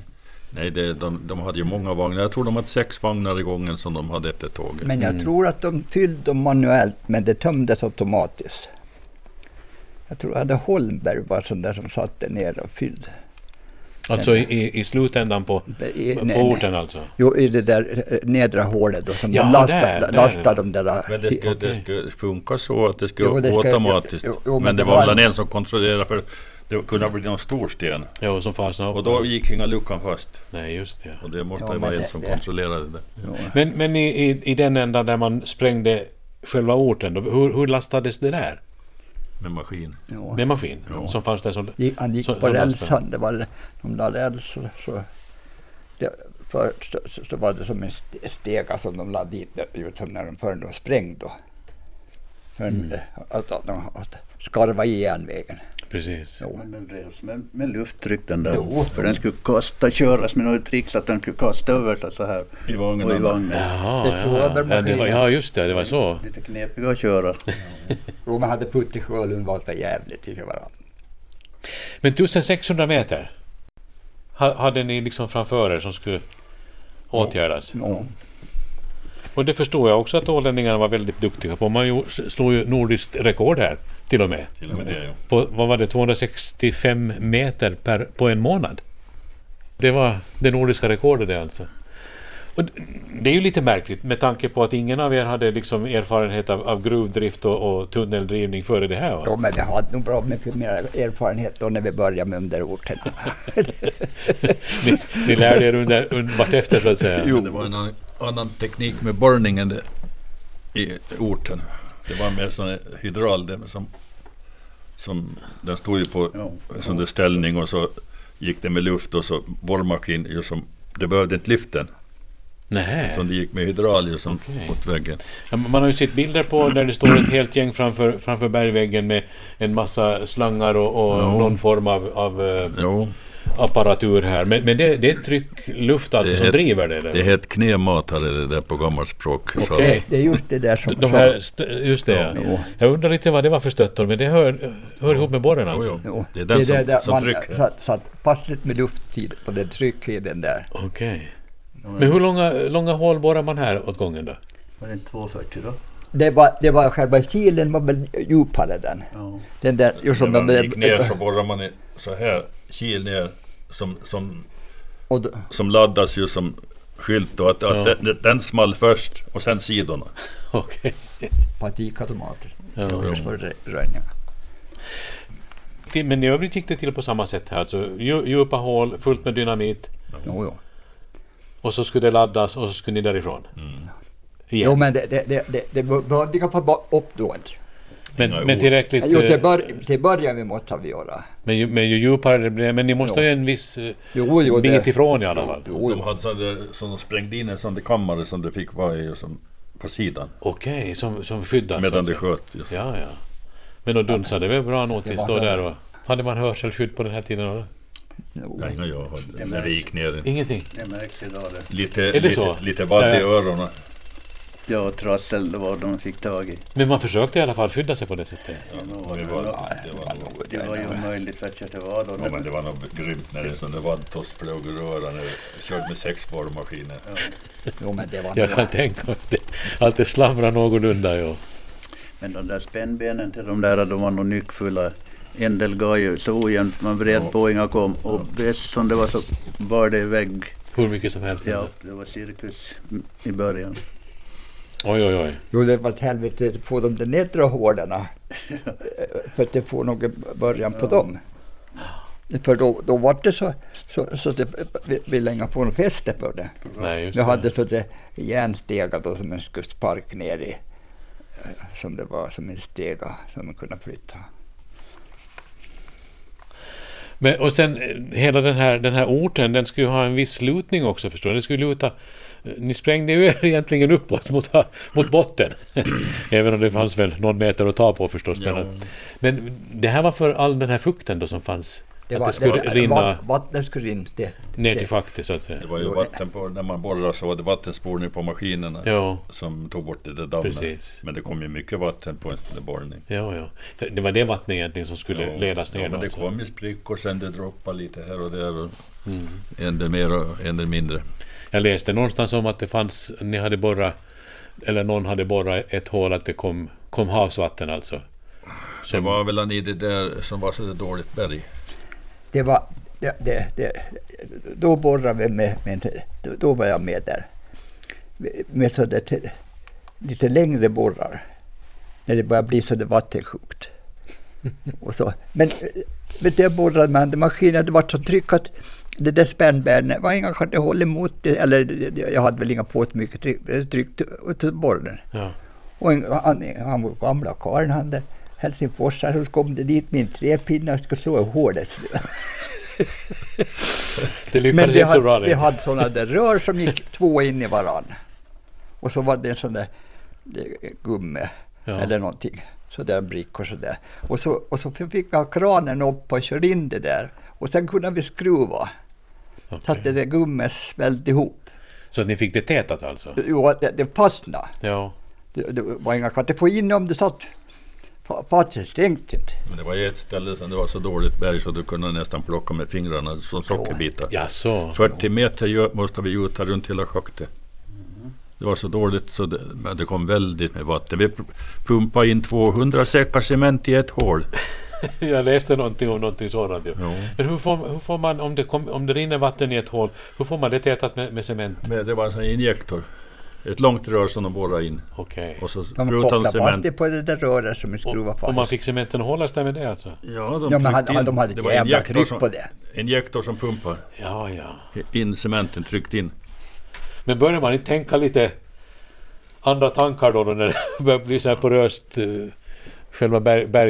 S3: nej det, de, de hade ju många vagnar. Jag tror de hade sex vagnar i gången som de hade efter tåget.
S2: Men
S1: Mm.
S2: jag tror att de fyllde dem manuellt men det tömdes automatiskt. Jag tror att Holmberg var sån där som satte ner och fyllde.
S1: alltså i- i, i slutändan på,
S2: I-
S1: på
S2: nej, nej.
S1: orten alltså.
S2: Jo, i det där eh, nedre hålet då som
S1: Ja,
S2: de lastade,
S1: där, där.
S2: lastade de där.
S3: Men det skulle, det
S1: Okej.
S3: skulle funka så att det skulle
S2: Jo, det
S3: gå
S2: ska-
S3: automatiskt.
S2: jo, jo,
S3: men, det var väl en som kontrollerade för det kunde ha blivit någon stor sten.
S1: Jo, som fasen upp.
S3: Och då gick inga luckan fast.
S1: Nej, just det.
S3: Och det måste
S2: Ja,
S3: ha varit
S2: men
S3: en
S2: det-
S3: som
S2: det-
S3: kontrollerade det.
S1: Men, men i, i, i den ändan där man sprängde själva orten, då, hur, hur lastades det där?
S3: Med maskin.
S2: Ja.
S1: Med maskin?
S3: Ja.
S1: Som fanns där som...
S2: Gick- Han gick
S1: Så-
S2: på
S1: så
S2: rälsen. Det var de där rälsen. Så, det, först så- så, så var det som en st- stega som de la dit, där, ut som när de förrän de sprängde. då. Förrän
S3: Mm.
S2: att, att de att skarva i järnvägen.
S1: Precis.
S2: Jo.
S4: Men den revs med, med lufttryck den där.
S2: Jo.
S4: För den skulle kasta, köras med något trick så att den skulle kasta över sig så här.
S3: I
S4: Och i
S3: vagnen.
S4: vagnen.
S1: Jaha,
S2: Det tror jag
S1: ja.
S2: väl
S1: Ja, det var,
S2: maskinen-
S1: ja, just det. Det var så.
S4: Lite knepiga att köra.
S2: Jo, men hade Putte Sjölund var för jävligt tycker jag.
S1: Men 1600 meter ha- hade ni liksom framför er som skulle åtgärdas.
S2: Ja.
S1: Och det förstår jag också att ålänningarna var väldigt duktiga på. Man ju- slog ju nordiskt rekord här till och med.
S3: Till och med det, ja.
S1: På, vad var det, 265 meter per, på en månad? Det var det nordiska rekordet det alltså. Och d- det är ju lite märkligt med tanke på att ingen av er hade liksom erfarenhet av, av gruvdrift och, och tunneldrivning före det här. Va?
S2: Jo, men vi hade nog bra mycket mer erfarenhet då när vi började med underorterna.
S1: Ni, ni lärde er under, under, vartefter så att säga.
S3: Men det var en an- annan teknik med borrningen där i orten. Det var mer sån här hydral det som, som den stod ju på
S4: Ja.
S3: sån där ställning och så gick det med luft och så borrmaskin ju som det behövde inte lyften
S1: Nej.
S3: utan det gick med hydral ju som
S1: Okej.
S3: åt väggen.
S1: Ja, men Man har ju sett bilder på där det står ett helt gäng framför, framför bergväggen med en massa slangar och, och
S3: Ja.
S1: någon form av, av eh,
S3: Jo,
S1: apparatur här. Men, men det, det är tryckluft alltså
S3: Det
S1: som
S3: är-
S1: driver det? Eller?
S3: det hette knematare det där på gammalspråk. Så
S1: Okej.
S2: Det är just det där som...
S1: De här, st- just det ja.
S2: Jo.
S1: Jag undrar lite vad det var för stöttor, men det hör, hör ihop med borren
S3: Jo,
S1: alltså?
S3: jo.
S2: Jo,
S3: Det är den som,
S2: där
S3: som
S2: man
S3: trycker.
S2: satt, satt passligt med lufttid på den trycktiden där.
S1: Okej. Men hur långa, långa hål borrar man här åt gången då?
S4: Var det inte 240 då?
S2: Det var, det var själva kilen var väl djupare den.
S4: Ja.
S2: Den där, just som
S3: När man
S2: de-
S3: gick ner så borrade man i, så här, kil ner som, som
S2: och då,
S3: som laddas ju som skylt och att, att
S1: Ja.
S3: den, den small först och sen sidorna.
S1: Okej.
S2: Patikautomater.
S1: Ja.
S2: Ja. Just för rö- röjningar.
S1: Till- Men i övrigt gick det till på samma sätt här. Alltså, dju- djupa hål, fullt med dynamit
S2: Jo, jo.
S1: och så skulle det laddas och så skulle ni därifrån. Igen.
S2: jo, men det, det, det, det, det började ligga på ba- upp då. inte.
S1: men,
S3: Inga
S1: men
S3: ord.
S1: tillräckligt...
S2: Jo, till,
S1: eh,
S2: bör, till början vi måste vi göra.
S1: men, ju, men ju djupare det blev... Men ni måste
S2: Jo.
S1: ju en viss eh,
S2: Jo, jo,
S1: bit
S2: det,
S1: ifrån i alla fall.
S2: jo,
S3: De
S2: jo.
S3: hade sån där, som de sprängde in en sån där kammare som det fick vara i och som, på sidan
S1: Okej, som, som skyddas.
S3: medan
S1: alltså.
S3: det sköt. just.
S1: Ja, ja. Men då dunsade det väl bra nog tills
S2: var
S1: då
S2: så.
S1: där och... Hade man hörselskydd på den här tiden? eller?
S2: jo.
S3: Ja, innan jag hade, när det
S4: märks.
S3: gick ner
S1: Ingenting?
S4: Det märks idag det.
S3: lite,
S1: det
S3: lite,
S1: så?
S3: lite vadd
S1: Ja,
S3: i
S1: ja.
S3: öronen.
S4: Ja, och trassel det var de fick tag i.
S1: Men man försökte i alla fall skydda sig på det sättet.
S3: Ja, och det var, det var, nog-
S4: Det var ju omöjligt för att det var då.
S3: ja, men det var nog grymt när det sån där vaddtoss flög ur öronen. Jag körde med sex borrmaskiner.
S2: Jo, men det var
S1: Jag kan tänka mig att det, att det slamrar någorlunda. Ja.
S4: Men de där spännbenen till de där, de var nog nyckfulla. En del gav ju så ojämnt, man vred på, inga kom. Och bäst som det var så bar det iväg.
S1: Hur mycket som helst.
S4: Ja, det var cirkus i början.
S1: Oj, oj, oj.
S2: Jo, det var ett helvete att få de där nedre hålen. eh, För att det får nog i början på dem. För då, då var det så, så, så att det, vi, vi länge få något fäste på det.
S1: Nej, just
S2: Jag hade
S1: det.
S2: så det järnstegar då som en skulle sparka ner i. eh, Som det var som en stega som man kunde flytta.
S1: Men, och sen eh, hela den här, den här orten, den skulle ju ha en viss lutning också förstår du. Den skulle luta... Eh, Ni sprängde ju er egentligen uppåt mot, eh, mot botten. Även om det fanns väl någon meter att ta på förstås. Men,
S3: Ja.
S1: att- men det här var för all den här fukten då som fanns. att det skulle rinna
S2: vatt- Vattnet skulle rinna. Det,
S1: ner till schaktet så att säga.
S3: Det var ju vatten på, när man borrade så var det vattenspolning på maskinerna
S1: Ja.
S3: som tog bort det där dammet.
S1: Precis.
S3: Men det kom ju mycket vatten på en sån där borrning.
S1: Ja, ja. Det var det vattnet egentligen som skulle ledas ner.
S3: ja, men
S1: då,
S3: det
S1: så.
S3: kom ju sprickor sen det droppade lite här och där. Och
S1: Mm.
S3: En del mer och en del mindre.
S1: Jag läste någonstans om att det fanns, ni hade borrat, eller någon hade borrat ett hål att det kom, kom havsvatten alltså.
S3: Det var väl i det där som var så där dåligt berg.
S2: det var... Det, det, det, då borrade vi med, med... då- Då var jag med där. Med- Med så där, till- lite längre borrar. När det började bli så där vattensjukt. Och så. Men med det borrade man, det maskinen, det var så tryck att det där spännbärnet var inga hade håll emot det, eller det- det- jag hade väl inga på så mycket tryck, det tryckte ut ur borren.
S1: Ja.
S2: Och en, han, han var gamla karln han där, helsingforsare, så kom det dit min träpinne och skulle slå i hålet.
S1: Det
S2: Men
S1: lyckades
S2: vi
S1: inte så bra
S2: hade, vi
S1: det.
S2: hade sådana där rör som gick två in i varann. Och så var det en sån där eh, gumme
S1: Ja.
S2: eller någonting. Så där en brick och så där. Och så, och så fick vi ha kranen upp och köra in det där. Och sen kunde vi skruva så att det
S1: Okej.
S2: där gummet svällde ihop.
S1: Så att ni fick det tätat alltså?
S2: Jo, det, det fastnade.
S1: Ja.
S2: Det, det var inga katter få in om det satt fa- fast det stängt inte.
S3: Men det var ju ett ställe som det var så dåligt berg så du kunde nästan plocka med fingrarna som sockerbitar.
S1: Jaså?
S3: 40 meter ju- måste vi gjuta runt hela schaktet. Det var så dåligt så det, men det kom väldigt med vatten. Vi pr- pumpade in 200 säckar cement i ett hål.
S1: Jag läste någonting om någonting sådant ju.
S3: Jo.
S1: Men hur får, hur får man, om det, kom, om det rinner vatten i ett hål, hur får man det tätat med, med cement?
S3: Men det var en sån injektor. Ett långt rör som de borrade in.
S1: Okej.
S3: Och så
S2: De
S3: sprutade de
S2: kopplade fast
S3: cement.
S2: det på det där röret som vi skruvade
S1: Och,
S2: fast.
S1: och man fick cementen att hålla sig med det alltså?
S3: Ja,
S2: ja, men
S3: tryckte
S2: hade,
S3: in.
S2: de hade
S3: Det
S2: ett
S3: var
S2: jävla
S3: injektor
S2: tryck
S3: som-
S2: på det.
S3: Injektor som pumpade
S1: Ja, ja.
S3: in cementen, tryckt in.
S1: Men börjar man inte tänka lite andra tankar då, då när det börjar bli så här poröst, eh, själva berg,
S2: Men det,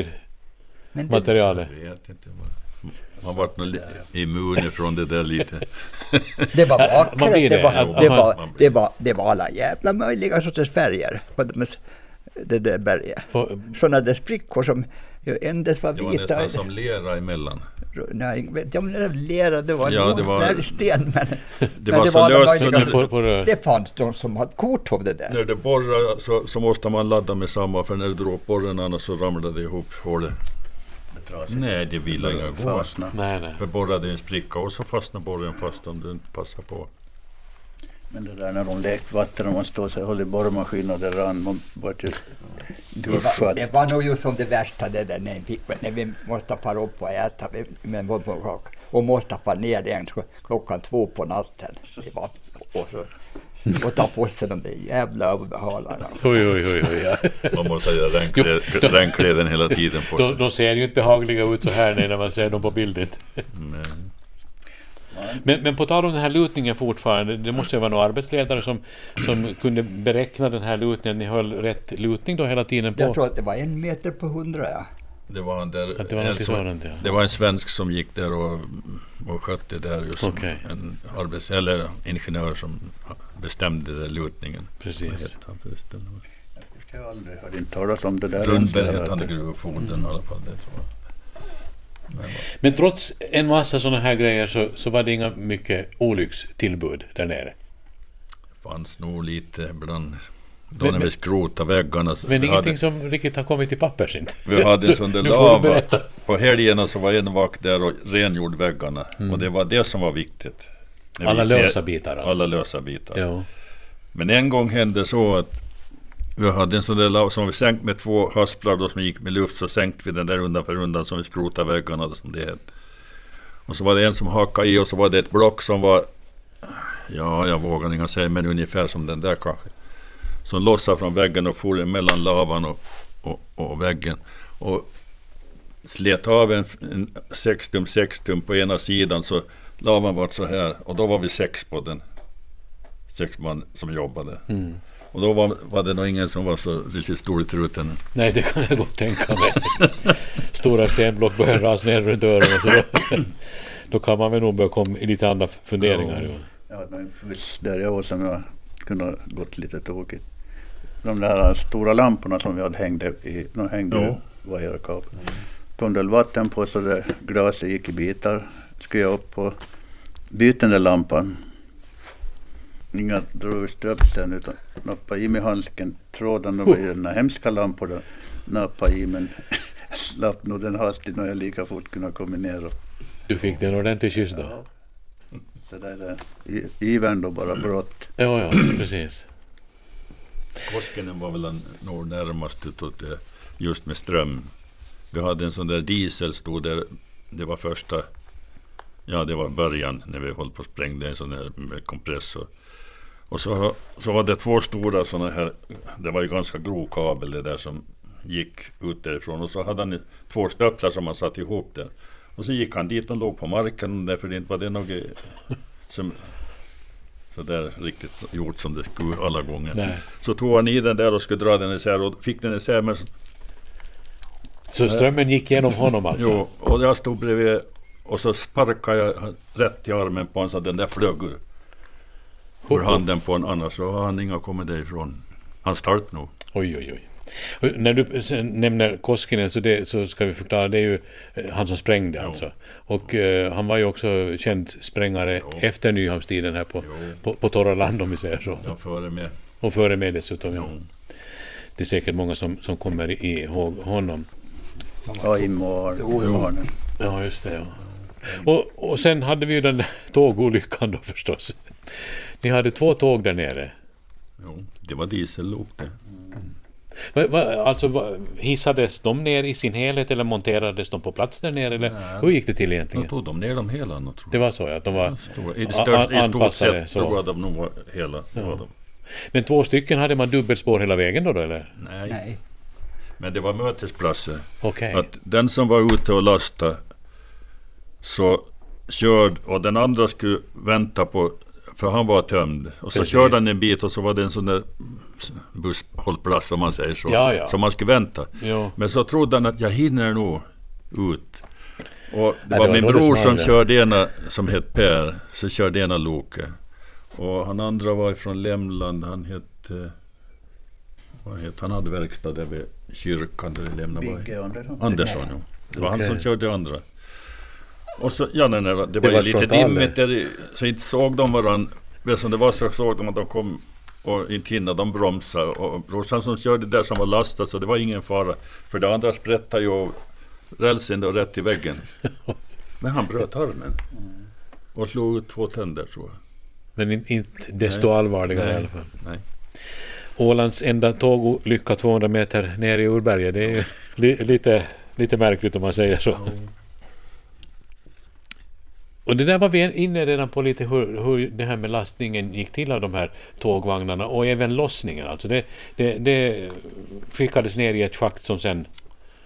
S1: bergmaterialet?
S3: Jag vet inte. man- Man vart nog li- immun ifrån det där lite.
S2: Det var vackert.
S1: Man blir
S2: det,
S1: det.
S2: var,
S1: Ja,
S2: det,
S1: man-
S2: var,
S3: man blir
S2: det, var, det var alla jävla möjliga sorters färger på de, det där berget.
S1: På-
S2: Sådana där sprickor som ju endast var
S3: Det var
S2: vita.
S3: nästan som lera emellan.
S2: Nej, jag vet inte om det var lera, det var,
S3: Ja,
S2: nog
S3: det var-
S2: bergsten. Men,
S3: Det
S2: men
S3: var så
S2: alla
S3: löst så
S2: möjliga-
S3: när-
S1: På, på röst?
S2: Det fanns de som hade kort av det där.
S3: När det borrar så, så måste man ladda med samma för när det dråpborren annars så ramlade det ihop hålet. Nej, det vill jag inte gå.
S4: Fastna.
S1: Nej, nej.
S3: För borrade en spricka och så fastnar borren fast om du inte passar på.
S4: Men det där när de lekte vatten och man stod så här och höll i borrmaskinen och det rann. Man vart ju
S2: Det var,
S4: duschad.
S2: det var nog ju som det värsta det där när vi, fick- när vi måste fara upp och äta vi- men, och måste fara ner igen klockan två på natten. Det var och, så, och ta på sig de där jävla överhalarna.
S1: Oj, oj, oj, oj ja.
S3: Man måste ha regnkläder- regnkläden hela tiden på
S1: de,
S3: sig.
S1: de ser ju inte behagliga ut så här nej, när man ser dem på bilden.
S3: Men,
S1: Men, men på tal om den här lutningen fortfarande, det måste ju vara någon arbetsledare som, som kunde beräkna den här lutningen. Ni höll rätt lutning då hela tiden på?
S2: Jag tror att det var en meter på hundra. Ja.
S3: det var en där...
S1: Att det var
S3: en
S1: någonting
S3: som-
S1: sådant, ja.
S3: Det var en svensk som gick där och, och skötte det där. Just som
S1: Okej.
S3: En arbets, eller ingenjör som bestämde den där lutningen. Vad
S1: Precis.
S3: hette han förresten?
S4: Jag har aldrig hört inte talas om det där.
S3: Rundberg hette han, gruvfonden
S1: Mm.
S3: i alla fall. Det tror jag.
S1: Men trots en massa sådana här grejer så, så var det inga mycket olyckstillbud där nere.
S3: fanns nog lite bland... Då
S1: Men-
S3: när vi skrotade väggarna. så
S1: Men
S3: vi
S1: ingenting
S3: hade,
S1: som riktigt har kommit till pappers inte.
S3: Vi hade
S1: Så
S3: en sån där
S1: nu får du
S3: lava.
S1: berätta.
S3: På helgerna så var en vakt där och rengjorde väggarna. Och det var det som var viktigt. När vi
S1: Mm. Alla
S3: gick ner-
S1: lösa bitar alltså.
S3: Alla lösa bitar.
S1: Ja.
S3: Men en gång hände så att vi hade en sån där lav som vi sänkt med två hasplar då som gick med luft så sänkte vi den där undan för undan som vi skrotade väggarna som det hette. Och så var det en som hackade i och så var det ett block som var ja, jag vågar inte säga men ungefär som den där kanske. Som lossade från väggen och for mellan lavan och, och, och väggen. Och slet av en, en sextum sextum på ena sidan så lavan var så här och då var vi sex på den. Sex man som jobbade. Och då var, var det nog ingen som var så riktigt stor i truten.
S1: Nej, det kan jag gott tänka mig. Stora stenblock börjar rasa ner runt öronen. Så då, då kan man väl nog börja komma i lite andra funderingar. Ja.
S4: Jag hade en fuss där jag var som jag kunde ha gått lite tokigt. De där stora lamporna som vi hade hängde i, de hängde
S3: Ja.
S4: ja. vajerkab. Kom det vatten på så det glaset gick i bitar. Skulle jag upp och byta den där lampan. Inga drog i ströpseln utan nappade i mig handsken. Tråden, det var ju den här hemska lampan då. Nappade i men slapp nog den hastigt och jag lika fort kunde ha kommit ner. Och,
S1: Du fick dig en ordentlig kyss då?
S4: ja. Det där är i- ivern då bara brott.
S1: Ja, ja, precis.
S3: Koskinen var väl den nog närmast utåt det, just med ström. Vi hade en sån där diesel stod där. Det var första, ja det var början när vi höll på och sprängde en sån här med kompressor. Och så, så var det två stora såna här, det var ju ganska grov kabel det där som gick ut därifrån. Och så hade han två stöplar som han satte ihop där. Och så gick han dit, de låg på marken därför det inte var det något som så där riktigt gjort som det skulle alla gånger.
S1: Nej.
S3: Så tog han i den där och skulle dra den isär och fick den isär. Men,
S1: Så strömmen gick genom honom alltså?
S3: jo, och jag stod bredvid och så sparkade jag han rätt i armen på honom så att den där flög ur, ur handen på honom. Annars så har han inga kommit därifrån. Han stalt nog.
S1: Oj, oj, oj. Och När du sen nämner Koskinen så, det, så ska vi förklara, det är ju eh, han som sprängde alltså. Och eh, han var ju också känd sprängare efter Nyhamnstiden här på, på, på torra land om vi säger så.
S3: Jag före med.
S1: Och före mig dessutom. Ja.
S3: Jo.
S1: Det är säkert många som, som kommer ihåg honom.
S4: Ja, imorgon. imorgon.
S1: Ja, just det. Ja. Mm. Och, och sen hade vi ju den där tågolyckan då förstås. Ni hade två tåg där nere.
S3: Jo, det var diesellok det.
S1: Va, va, alltså, va, hissades de ner i sin helhet eller monterades de på plats där nere? Eller
S3: Nej.
S1: hur gick det till
S3: Då
S1: egentligen?
S3: tog de ner dem hela. nog, tror
S1: Det
S3: jag.
S1: var så ja, att de var
S3: Stora- I,
S1: a-
S3: störst,
S1: a-
S3: I stort
S1: anpassade
S3: sett tror
S1: så.
S3: jag de nog var hela. det Var de.
S1: Men två stycken hade man dubbelspår hela vägen då, då eller?
S3: Nej.
S2: Nej.
S3: men det var mötesplatser.
S1: Okej.
S3: Att den som var ute och lastade så körde och den andra skulle vänta på för han var tömd. Och så
S1: Precis.
S3: körde han en bit och så var det en sån där busshållplats om man säger så.
S1: Ja, ja.
S3: Som man skulle vänta.
S1: Ja.
S3: Men så trodde han att jag hinner nog ut. Och det
S1: det
S3: var
S1: var
S3: min
S1: då det
S3: bror
S1: small,
S3: som
S1: ja.
S3: körde ena, som hette Per, så körde ena loket. Och han andra var ifrån Lämland, han hette... Vad hette han? hade verkstad där vid kyrkan där i Lämland. Vad-
S4: Bigge Andersson.
S3: Andersson, ja. Det var han
S1: Okej.
S3: som körde andra. Och så, ja, nej, nej, det,
S1: var
S3: var ju lite
S1: frontaler.
S3: dimmigt där, i- så inte såg de varandra. Men som det var så såg de att de kom och inte hinna, de bromsade. Och brorsan som körde där som var lastad, så det var ingen fara. För det andra sprättade ju av rälsen då rätt i väggen. Men han bröt armen. Och slog ut två tänder tror jag.
S1: Men in- inte desto allvarligare i alla fall.
S3: Nej.
S1: Ålands enda tågolycka 200 meter ner i Urberget, det är ju li- lite, lite märkligt om man säger så. Och det där var vi inne redan på lite hur, hur det här med lastningen gick till av de här tågvagnarna och även lossningen. Alltså det, det, det skickades ner i ett schakt som sen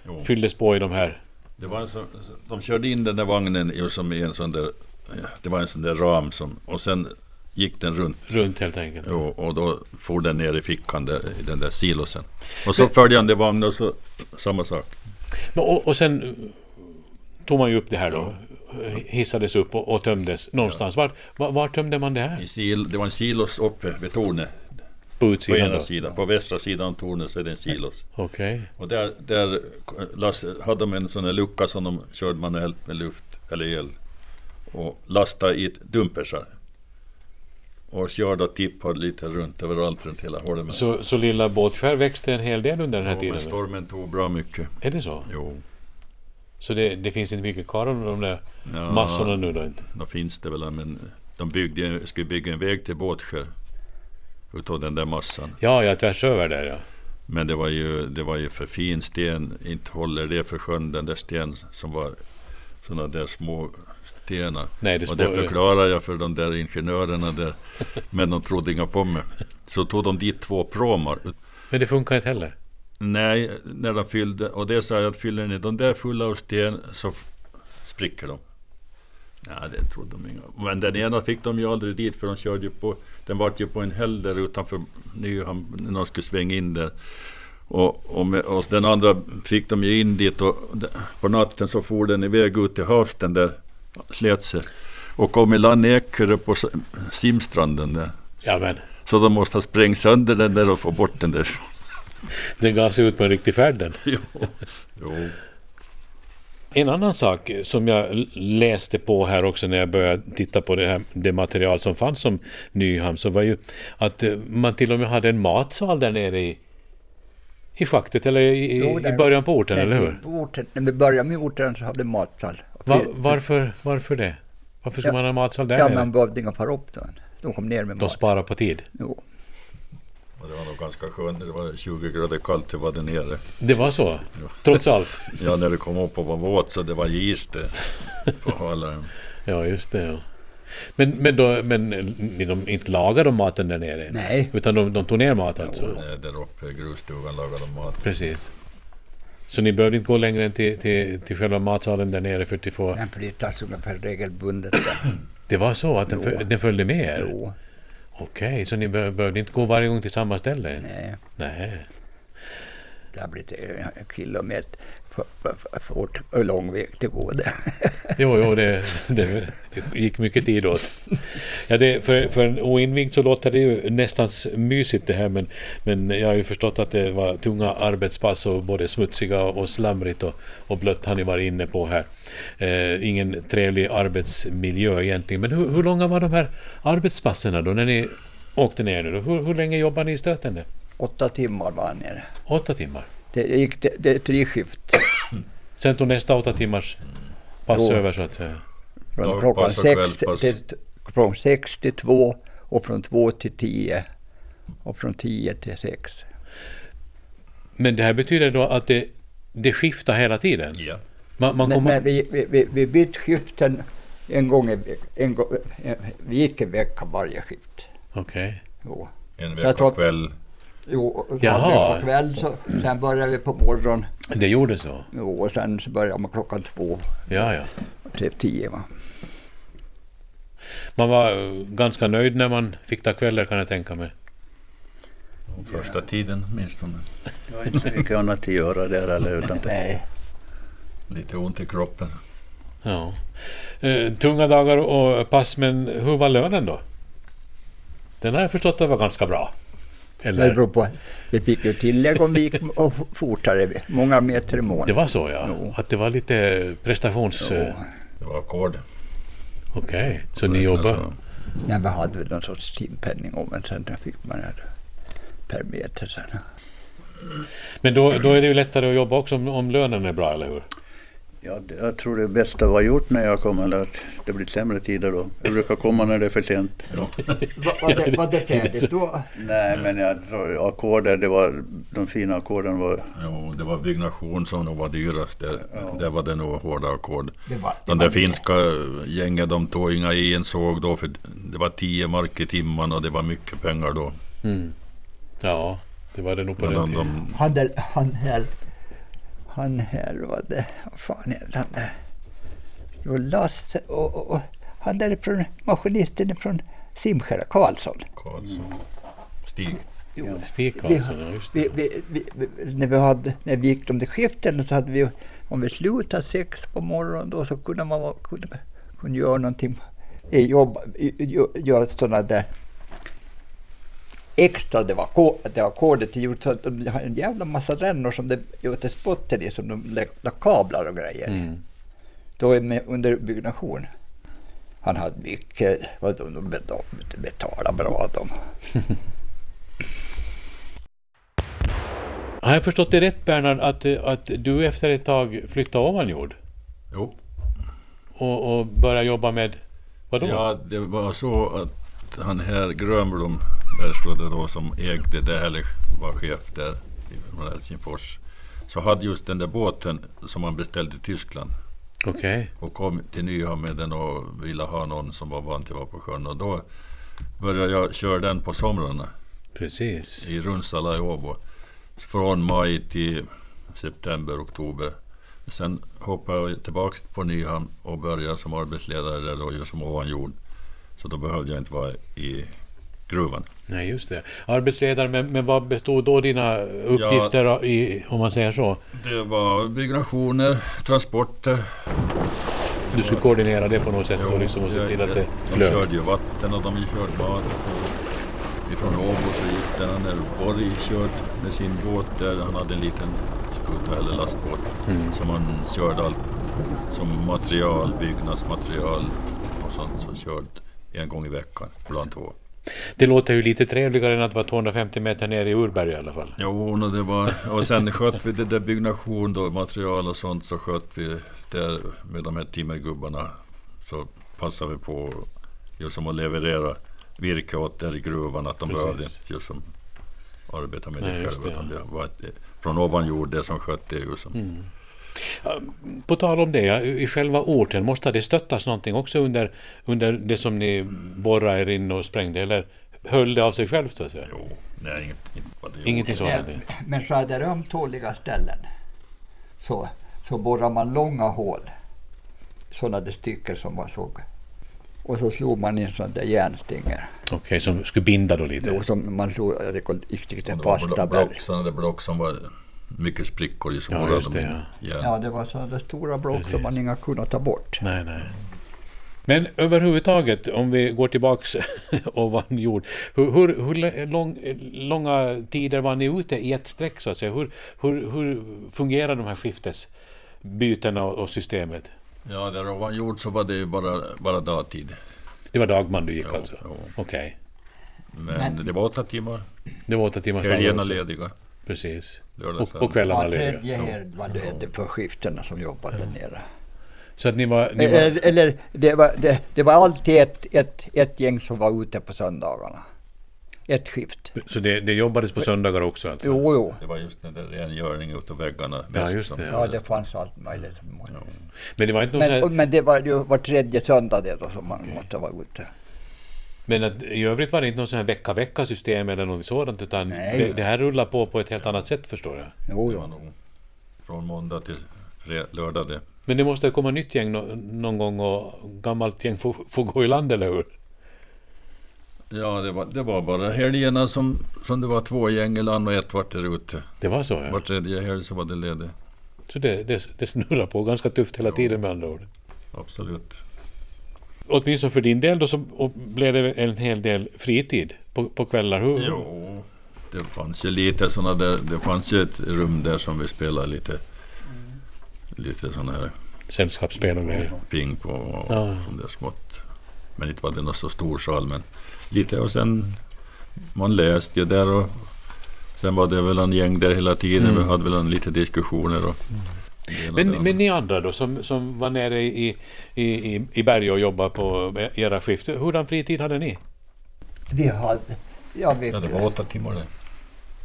S3: Jo.
S1: fylldes på i de här...
S3: Det var en sån, de körde in den där vagnen ju som i en sån där, det var en sån där ram som, och sen gick den runt
S1: Runt helt enkelt.
S3: och, och då for den ner i fickan där, i den där silosen. Och så följande vagn och så samma sak.
S1: Men, och, och sen eh, tog man ju upp det här då. Hissades upp och, och tömdes någonstans. Var, var, var tömde man det här?
S3: I sil, det var en silos uppe vid tornet
S1: På
S3: på
S1: utsidan
S3: ena
S1: då?
S3: sidan. På västra sidan av tornet så är det en silos.
S1: Okej.
S3: Och där, där last, hade de en sån här lucka som de körde manuellt med luft eller el och lastade i dumpersar. Och körde och tippade lite runt överallt runt hela Holmen.
S1: Så, så lilla Båtskär växte en hel del under den här
S3: Ja,
S1: tiden?
S3: men stormen tog bra mycket.
S1: Är det så?
S3: Jo,
S1: Så det, det finns inte mycket kvar av de där
S3: Ja.
S1: massorna nu då inte?
S3: då finns det väl men de byggde, skulle bygga en väg till Båtsjö utav den där massan.
S1: Ja, jag tvärs över där ja.
S3: Men det var ju, det var ju för fin sten, inte håller det för sjön den där sten som var sådana där små stenar.
S1: Nej, det
S3: och det
S1: spår-
S3: förklarade jag för de där ingenjörerna där, men de trodde inga på mig. Så tog de dit två pråmar.
S1: Men det funkar inte heller?
S3: Nej, när de fyllde, och det sa jag att fyller ni de där fulla av sten så f- spricker de. Nej, det trodde de inga. Men den ena fick de ju aldrig dit för de körde ju på, den vart ju på en häll där utanför Nyhamn när de skulle svänga in där. Och, och, med, och den andra fick de ju in dit och d- på natten så for den iväg ut till havs den där, slet sig. Och kom i land i Ekerö på S- simstranden där.
S1: Ja, men
S3: Så de måste ha sprängt sönder den där och få bort den där.
S1: den gav sig ut på en riktig färd den.
S3: jo. jo.
S1: En annan sak som jag l- läste på här också när jag började titta på det, här, det material som fanns om Nyhamn så var ju att eh, man till och med hade en matsal där nere i, i schaktet eller i,
S2: Jo,
S1: i
S2: där-
S1: början på orten,
S2: Nej,
S1: eller hur?
S2: På orten, när vi började med orten så hade vi matsal. Och
S1: Va,
S2: vi-
S1: varför, varför det? Varför skulle
S2: Ja.
S1: man ha en matsal där
S2: Ja,
S1: nere?
S2: man behövde inga par upp då. De kom ner med
S1: De
S2: mat.
S1: sparar på tid.
S2: Jo.
S3: Och det var nog ganska skönt. Det var 20 grader kallt det var där nere.
S1: Det var så, trots allt.
S3: Ja, när det kom upp och var våt så det var is det. På Halaren.
S1: Ja, just det. Ja. Men, men, då, men de, de inte lagade de maten där nere?
S2: Nej.
S1: Utan de, de tog ner mat alltså?
S3: Nej, eh, Där uppe i grusstugan lagade de mat.
S1: Precis. Så ni behövde inte gå längre än till, till, till själva matsalen där nere för att få...
S2: Den flyttas ungefär regelbundet. där.
S1: Det var så att den, föl, den följde med er?
S2: Jo,
S1: Okej, så ni be- behövde inte gå varje gång till samma ställe?
S2: nej.
S1: Nej.
S2: Det har blivit en kilometer för, för, för, fort och lång väg till gå det.
S1: Jo, jo, det, det gick mycket tid åt. Ja, det, för, för en oinvigd så låter det ju nästan s- mysigt det här men, men jag har ju förstått att det var tunga arbetspass och både smutsiga och slamrigt och, och blött har ni varit inne på här. Eh, ingen trevlig arbetsmiljö egentligen. Men hur, hur långa var de här arbetspassen då när ni åkte ner nu? Då? Hur, hur länge jobbade ni i stöten? där?
S2: Åtta timmar var han nere.
S1: Åtta timmar?
S2: Det, gick, det, det är tre skift.
S1: Sen tog nästa åtta timmars pass
S2: Jo.
S1: över så att säga.
S2: Från
S3: Dagpass
S2: klockan
S3: och
S2: sex
S3: kvällspass.
S2: till, från sex till två och från två till tio och från tio till sex.
S1: Men det här betyder då att det, det skiftar hela tiden?
S3: Ja.
S1: Man, man
S2: Men,
S1: kommer...
S2: men vi, vi, vi, vi bytte skiften en gång i ve- en, gång- en, Vi gick en vecka varje skift.
S1: Okej.
S2: Jo.
S3: En
S2: Så jag tar-
S3: veckokväll.
S2: Jo, och så
S1: Jaha.
S2: hade vi på kväll så, sen började vi på morgonen
S1: Det gjorde så?
S2: jo, och sen så började man klockan två
S1: Ja, ja.
S2: till tio. Va?
S1: Man var eh, ganska nöjd när man fick ta kvällar kan jag tänka mig.
S3: Första tiden åtminstone.
S4: Jag har inte så mycket annat att göra där eller utan
S2: Nej,
S3: Lite ont i kroppen.
S1: Ja. Eh, tunga dagar och pass, men hur var lönen då? Den har jag förstått att var ganska bra.
S2: men det
S1: Eller?
S2: beror på. Vi fick ju tillägg om vi gick och fortare, många meter i
S1: Det
S2: månaden.
S1: var så ja?
S2: Jo.
S1: Att det var lite prestations... eh,
S3: Det var ackord.
S1: Okej, så ni jobbar?
S3: Alltså,
S2: Ja, vi hade väl någon sorts timpenning om men sen fick man det per meter sen.
S1: Men då, då är det ju lättare att jobba också om, om lönen är bra, eller hur?
S4: Ja, det- jag tror det bästa var gjort när jag kom, eller att det blir sämre tider då. Jag brukar komma när det är för sent.
S2: Va- Var det, var det färdigt då?
S4: Nej, men jag tror ackorder, det var, de fina ackorden var...
S3: Jo, det var byggnation som nog var dyrast. Det,
S4: Ja.
S3: det var det nog hårda ackord.
S2: Det var,
S3: De där finska gängen de tog inga i en såg då för det var 10 mark i timmen och det var mycket pengar då.
S1: Mm. Ja, det var det nog på
S3: Men
S1: den
S3: de,
S1: tiden.
S3: de,
S2: Han, där, han här, han här var det, vad fan heter han där? Jo, Lasse och, och, och han därifrån, maskinisten från Simskära, Karlsson.
S3: Karlsson. Stig.
S2: Jo,
S1: Stig Karlsson, ja just
S2: vi,
S1: det.
S2: vi, vi, vi, när, vi hade, när vi gick de där skiften så hade vi, om vi slutade sex på morgonen då så kunde man vara- kunde, kunde göra någonting, eh, jobba, i- i- göra sådana där extra, det var, ko- det var kodet till gjort så att de har en jävla massa rännor som det gjorde spotter i, som de lä- la kablar och grejer i.
S1: Mm.
S2: Då är med under byggnation. Han hade mycket, vad de, de betal- betalade bra de.
S1: Har jag förstått det rätt Bernhard, att, eh, att du efter ett tag flyttade ovanjord
S3: Jo.
S1: och, och började jobba med vadå?
S3: Ja, det var så att han här Grönblom, världsrådet då, som ägde det här, eller var chef där i- från Helsingfors, så hade just den där båten som han beställde i Tyskland
S1: Okej.
S3: och kom till Nyhamn med den och ville ha någon som var van till att vara på sjön och då började jag köra den på somrarna
S1: Precis.
S3: i Runsala i Åbo. Från maj till september, oktober. Sen hoppade jag tillbaka på Nyhamn och började som arbetsledare där då, just som ovan jord. Så då behövde jag inte vara i gruvan.
S1: Nej, just det. Arbetsledare, men, men vad bestod då dina uppgifter i, om man säger så?
S3: Det var byggnationer, transporter.
S1: Du skulle koordinera det på något sätt
S3: Jo,
S1: och, liksom och se
S3: jag-
S1: till att det
S3: De
S1: flöt.
S3: körde ju vatten och de körde badet. och Ifrån Åbo så gick den han där Borg körde med sin båt där. Han hade en liten skuta eller lastbåt
S1: Mm.
S3: som han körde allt som material, byggnadsmaterial och sånt. Så körde en gång i veckan, ibland två.
S1: Det låter ju lite trevligare än att vara 250 meter ner i Urberg i alla fall.
S3: Jo, och, det var, och sen sköt vi det där byggnation då, material och sånt, så sköt vi där med de här timmergubbarna. Så passade vi på just som att leverera virke åt där i gruvan, att de
S1: Precis.
S3: behövde inte just som arbeta med
S1: Nej,
S3: det
S1: just
S3: själva.
S1: det,
S3: utan det var ett, från ovan jord, det som sköt det. Just som.
S1: Mm. På tal om det, ja, i själva orten, måste det stöttas någonting också under, under det som ni borrade er in och sprängde? Eller höll det av sig självt så att säga?
S3: Jo, nej, inget, inte var det.
S1: Ingenting sådant?
S2: Men, men så är det ömtåliga ställen så, så borrar man långa hål, sådana där stycken som man såg. Och så slog man in sådana där järnstänger.
S1: Okej, som skulle binda då lite?
S2: Och som man slog, det går- gick
S3: Det
S2: till
S3: var blo-
S2: fasta berg.
S3: block, sådana där block som var mycket sprickor i. Som
S1: Ja,
S3: våra-
S1: just det,
S2: Ja, det var sådana där stora block som man inga kunde ta bort.
S1: Nej, nej. Men överhuvudtaget, om vi går tillbaks ovan jord. Hur, hur, hur lä- lång, långa tider var ni ute i ett streck så att säga? Hur, hur, hur fungerar de här skiftesbytena och, och systemet?
S3: Ja, där ovan jord så var det ju bara, bara dagtid.
S1: Det var dagman du gick
S3: Jo,
S1: alltså?
S3: jo.
S1: Okej.
S3: Men, det var åtta timmar.
S1: Det var åtta timmars
S3: Helgerna
S1: också.
S3: lediga.
S1: Precis.
S3: Lördag,
S1: Och,
S3: söndag.
S1: och kvällarna
S2: Var
S1: lediga.
S2: tredje herd var det för skiftena som jobbade där nere.
S1: Så att ni var... Ni var
S2: Eller, eller det, var, det, det var alltid ett, ett, ett gäng som var ute på söndagarna. Ett skift.
S1: så det, det jobbades på söndagar också? Alltså.
S2: Jo, jo.
S3: Det var just den där rengöringen utav väggarna.
S1: Ja,
S3: mest
S1: just
S3: som-
S1: det,
S2: Ja, det fanns allt möjligt.
S1: Men det var inte någon sån
S2: Men,
S1: här-
S2: och- men det var ju var tredje söndag det då som man måste vara ute.
S1: Men att, i övrigt var det inte någon sån här vecka-vecka system eller något sådant utan
S2: Nej.
S1: det, det här rullar på på ett helt annat sätt förstår jag.
S2: Jo,
S3: Det var
S2: jo.
S3: nog från måndag till fred, lördag det.
S1: Men det måste komma nytt gäng nå- någon gång och gammalt gäng får, får gå i land, eller hur?
S3: Ja, det var, det var bara helgerna som, som det var två gäng i land och ett vart där ute.
S1: Det var så
S3: Var
S1: ja.
S3: tredje helg så var det ledigt.
S1: Så det, det, det snurrar på ganska tufft hela tiden med andra ord.
S3: Absolut.
S1: Åtminstone för din del då så och blev det en hel del fritid på, på kvällar. Hur?
S3: Jo, det fanns ju lite sådana där. Det fanns ju ett rum där som vi spelade lite, lite sådana här
S1: Sällskapsspel och grejer.
S3: ping på och
S1: Ja.
S3: de där smått. Men inte var det någon så stor sal, men lite och sen man läste ju där
S2: Mm.
S3: och sen var det väl en gäng där hela tiden. Vi hade väl en lite diskussioner och det ena
S1: Men,
S3: och det
S1: men
S3: andra.
S1: ni andra då, som, som var nere i, i, i, i Berge och jobbade på era skift, hurdan fritid hade ni?
S2: Vi hade... Ja, vi,
S3: Ja, det var åtta timmar det.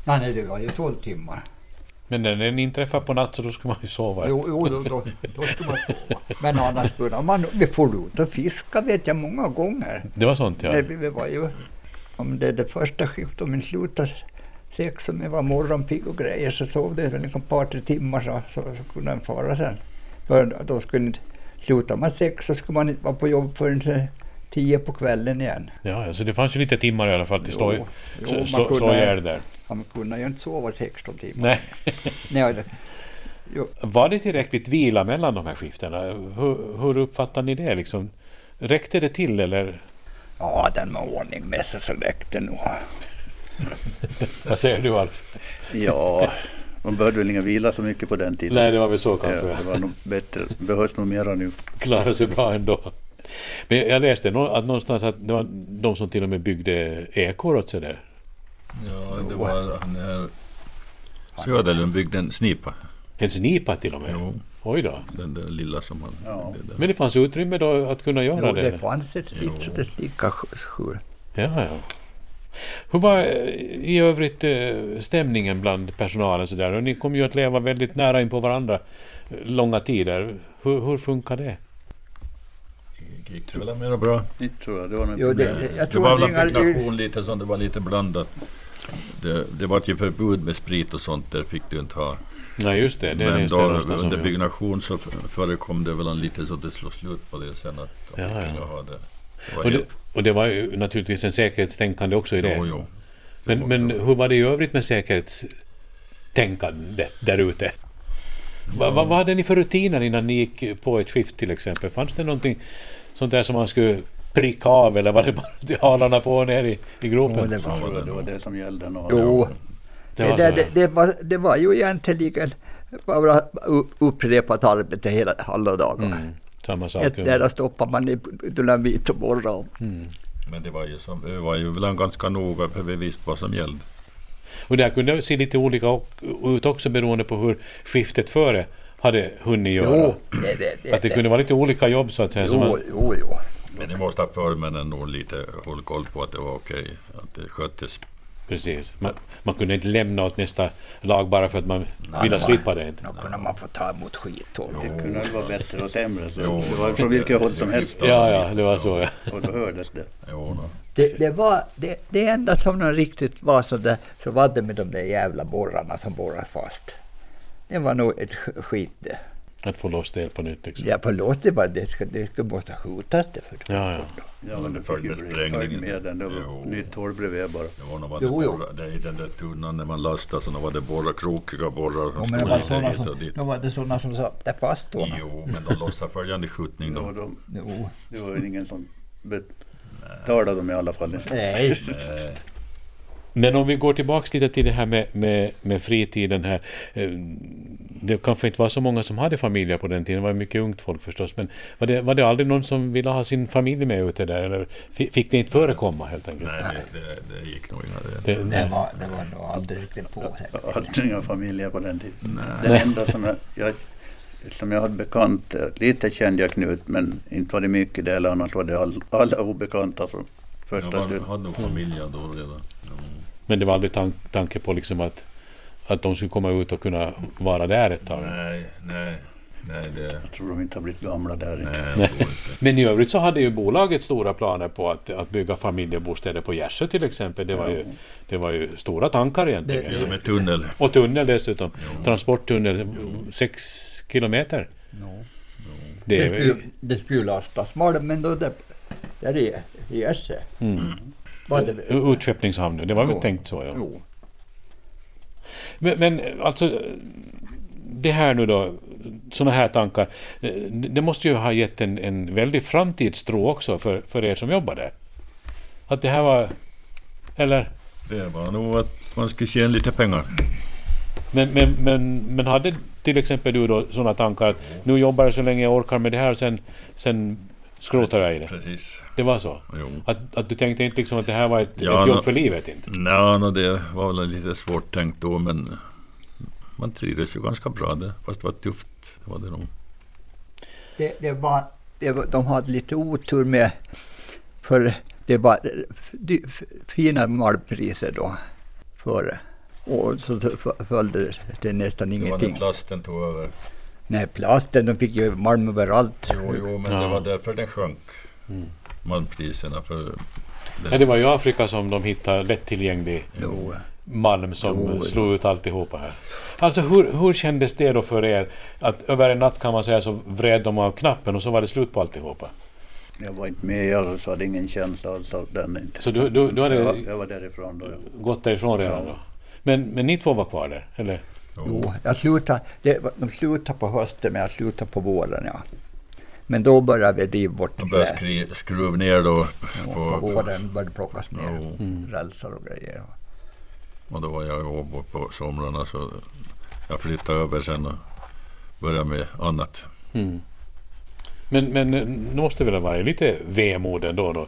S2: nej, nej, det var ju tolv timmar.
S1: Men när ni inträffade på natten så då skulle man ju sova.
S2: Jo, jo då, då, då skulle man sova. Men annars kunde man... Vi for ut och fiska vet jag många gånger.
S1: Det var sånt ja.
S2: Nej, vi, vi var ju, om det är det första skiftet, om vi slutade sex som vi var morgonpigg och grejer så sov det väl liksom ett par, tre timmar så, så, så kunde den fara sen. För då skulle inte, slutade man sex så skulle man inte vara på jobb förrän eh, tio på kvällen igen.
S1: ja. ja, Så det fanns ju lite timmar i alla fall till slå,
S2: Jo, jo,
S1: slå,
S2: man
S1: slå, slå
S2: kunde-
S1: ihjäl där.
S2: Ja, man kunde ju inte sova 16 timmar.
S1: Nej.
S2: Nej, det,
S1: Var det tillräckligt vila mellan de här skiftena? Hur, hur uppfattar ni det liksom? Räckte det till eller?
S2: ja, den var ordning med sig så räckte nog.
S1: Vad säger du Alf?
S4: Ja, man behövde väl inga vila så mycket på den tiden.
S1: Nej, det var väl så
S4: Ja,
S1: kanske.
S4: det var nog bättre. Det behövs nog mera nu.
S1: klarar sig bra ändå. Men jag läste nå- att någonstans att det var de som till och med byggde ekor åt sig där.
S3: Ja, det var han här Söderlund byggde en snipa.
S1: En snipa till och med.
S3: Jo,
S1: Oj då.
S3: den där lilla som han
S4: Ja.
S3: byggde där.
S1: Men det fanns utrymme då att kunna göra
S2: Jo,
S1: det?
S2: det fanns ett stick så det stickade skjul.
S1: Ja, ja. Hur var eh, i övrigt eh, stämningen bland personalen? Så där? Och ni kom ju att leva väldigt nära in på varandra eh, långa tider. Hur, hur funkar det?
S3: Det gick väl mera bra.
S4: Inte tror jag. Det var nog
S2: Jo,
S4: problem.
S2: det, jag
S3: Det
S2: tror
S3: var
S2: att
S3: väl en
S2: Ingar-
S3: byggnation lite som det var lite blandat. Det, det var ju förbud med sprit och sånt, där fick du inte ha.
S1: Nej, just det. det är
S3: Men
S1: just
S3: då
S1: det någonstans
S3: under
S1: som-
S3: byggnation så förekom det väl en lite så att det slog slut på det sen att de
S1: Ja, ja.
S3: kunde ha det. Det var
S1: och, det,
S3: helt-
S1: och det var ju naturligtvis en säkerhetstänkande också i det.
S3: Jo, jo.
S1: Men, men hur var det i övrigt med säkerhetstänkandet där ute? Va, va, vad hade ni för rutiner innan ni gick på ett skift till exempel? Fanns det någonting sånt där som man skulle pricka av eller var det bara till halarna på och ner i, i gropen?
S2: Jo, det
S4: Jag
S2: var-
S4: tror det var det som gällde. nog.
S2: Jo,
S1: Det
S2: Det
S1: var
S2: var,
S1: så,
S2: det,
S1: ja.
S2: det, det, var, det var ju egentligen bara u- upprepat arbete hela, alla dagar.
S1: Mm, samma sak.
S2: Ett, där stoppar man i dynamit och borrar.
S3: Men det var ju, som, vi var ju väl ganska noga för vi visste vad som gällde.
S1: Och det här kunde se lite olika o- ut också beroende på hur skiftet före hade hunnit göra.
S2: Jo, det, det, det,
S1: Att det kunde vara lite olika jobb så att säga. som
S2: Jo,
S1: man-
S2: jo, jo.
S3: Men det måste ha förmännen nog lite håll koll på att det var okej, att det sköttes.
S1: precis. Man, man kunde inte lämna åt nästa lag bara för att man ville
S2: det var-
S1: slippa det. Inte.
S2: Då kunde man få ta emot skit. Och,
S4: Det kunde väl vara bättre och sämre. Så
S3: Jo.
S4: det var från vilket håll som helst.
S1: Ja, ja, det var så. Ja.
S4: Och då hördes det.
S3: Jo, då.
S2: det, det, var, det, det enda som någon riktigt var så, där, så var det med de där jävla borrarna som borrar fast. Det var nog ett sk- skit det.
S1: Att få loss det helt på nytt. Liksom.
S2: Ja, förlåt, det var det skulle det skulle måste skjutas det för.
S1: Ja, ja.
S4: Ja,
S3: men
S4: men
S3: det
S4: det fick ju
S3: följdes
S4: bli
S3: sprängningen.
S4: följd med den. Det var
S3: Jo.
S4: nytt hål bredvid bara.
S3: Det var nog vad
S2: Jo,
S3: det
S2: jo.
S3: borra- det i den där tunnan när man lastade så då var det borrar, krokiga borrar som
S2: Ja, men det
S3: stod
S2: var
S3: lite
S2: sådana
S3: hit och
S2: som,
S3: dit.
S2: då var det sådana som sa det fast då.
S3: Jo, men de lossade följande skjutning
S4: Det var,
S3: då.
S4: de,
S2: Jo.
S4: det var ju ingen som betalade dem i alla fall.
S2: Nej.
S3: Eh,
S1: Men om vi går tillbaks lite till det här med, med, med fritiden här. Eh, Det kanske inte var så många som hade familjer på den tiden, det var mycket ungt folk förstås. Men var det, var det aldrig någon som ville ha sin familj med ute där? Eller fi- fick det inte förekomma helt enkelt?
S3: nej, det, det, det gick nog inga det.
S1: Det,
S2: Det var, det var nog aldrig riktigt på.
S4: Jag hade inga familjer på den tiden. Den enda som jag, jag, som jag hade bekant, eh, lite kände jag Knut, men inte var det mycket det, eller annars var det all, alla obekanta från
S3: Jag
S4: första
S3: var,
S4: stund.
S3: hade nog familj då redan. Mm.
S1: men det var aldrig tan tanke på liksom att, att de skulle komma ut och kunna vara där ett tag?
S3: Nej, nej, nej, det...
S4: Jag tror de inte har blivit gamla där. inte.
S3: Nej, jag tror inte.
S1: Men i övrigt så hade ju bolaget stora planer på att, att bygga familjebostäder på Gärsö till exempel. Det var ju, det var ju stora tankar egentligen.
S3: Till och med tunnel.
S1: Och tunnel dessutom. Transporttunnel, sex kilometer.
S2: No.
S1: Det
S2: Det,
S1: är,
S2: skulle, det skulle lastas malm, men då det, där är Gärsö.
S1: Mm.
S2: Var det?
S1: utskeppningshamn nu, det var väl
S2: Jo.
S1: tänkt så ja.
S2: Jo.
S1: Men, men alltså, det här nu då, sådana här tankar, eh, det måste ju ha gett en, en väldig framtidstro också för, för er som jobbar där. Att det här var, eller?
S3: Det var nog att man skulle tjäna lite pengar.
S1: Men, men, men, men hade till exempel du då sådana tankar att nu jobbar jag så länge jag orkar med det här och sen, sen skrotar jag i det?
S3: Precis.
S1: Det var så?
S3: Jo.
S1: Att, att du tänkte inte liksom att det här var ett,
S3: Ja,
S1: ett jobb
S3: nå-
S1: för livet inte?
S3: Nej, nå, det var väl lite svårt tänkt då men man trivdes ju ganska bra där, fast det var tufft. Det var det nog.
S2: Det, det var, det var, de hade lite otur med, för det var dy, fina malmpriser då. För, och så följde det nästan
S3: Det var när
S2: ingenting.
S3: plasten tog över.
S2: Nej, plasten, de fick ju malm överallt.
S3: Jo, jo men
S1: Ja. Mm.
S3: det var därför den sjönk, malmpriserna. För
S1: Ja, det var ju Afrika som de hittade lättillgänglig
S2: Jo.
S1: malm som
S2: Jo, jo.
S1: slog ut alltihopa här. Alltså hur, hur kändes det då för er att över en natt kan man säga så vred de av knappen och så var det slut på alltihopa?
S4: Jag var inte med i alla så hade ingen känsla alls av den. Inte.
S1: Så du, du, du hade
S4: Jag, var- jag var därifrån då. ja.
S1: gått därifrån redan då? Men, men ni två var kvar där, eller?
S2: Jo, jag slutade, det, var- de slutade på hösten, men jag slutade på våren. Ja. Men då började vi driva bort
S3: de började
S2: med-
S3: skri, skruva ner då.
S2: och på
S3: På,
S2: våren började det plockas ner Mm.
S3: Jo.
S2: rälsar och grejer.
S3: och då var jag i Åbo på somrarna så jag flyttade över sen och började med annat.
S1: Men, men eh, nu måste väl ha varit lite vemod ändå då?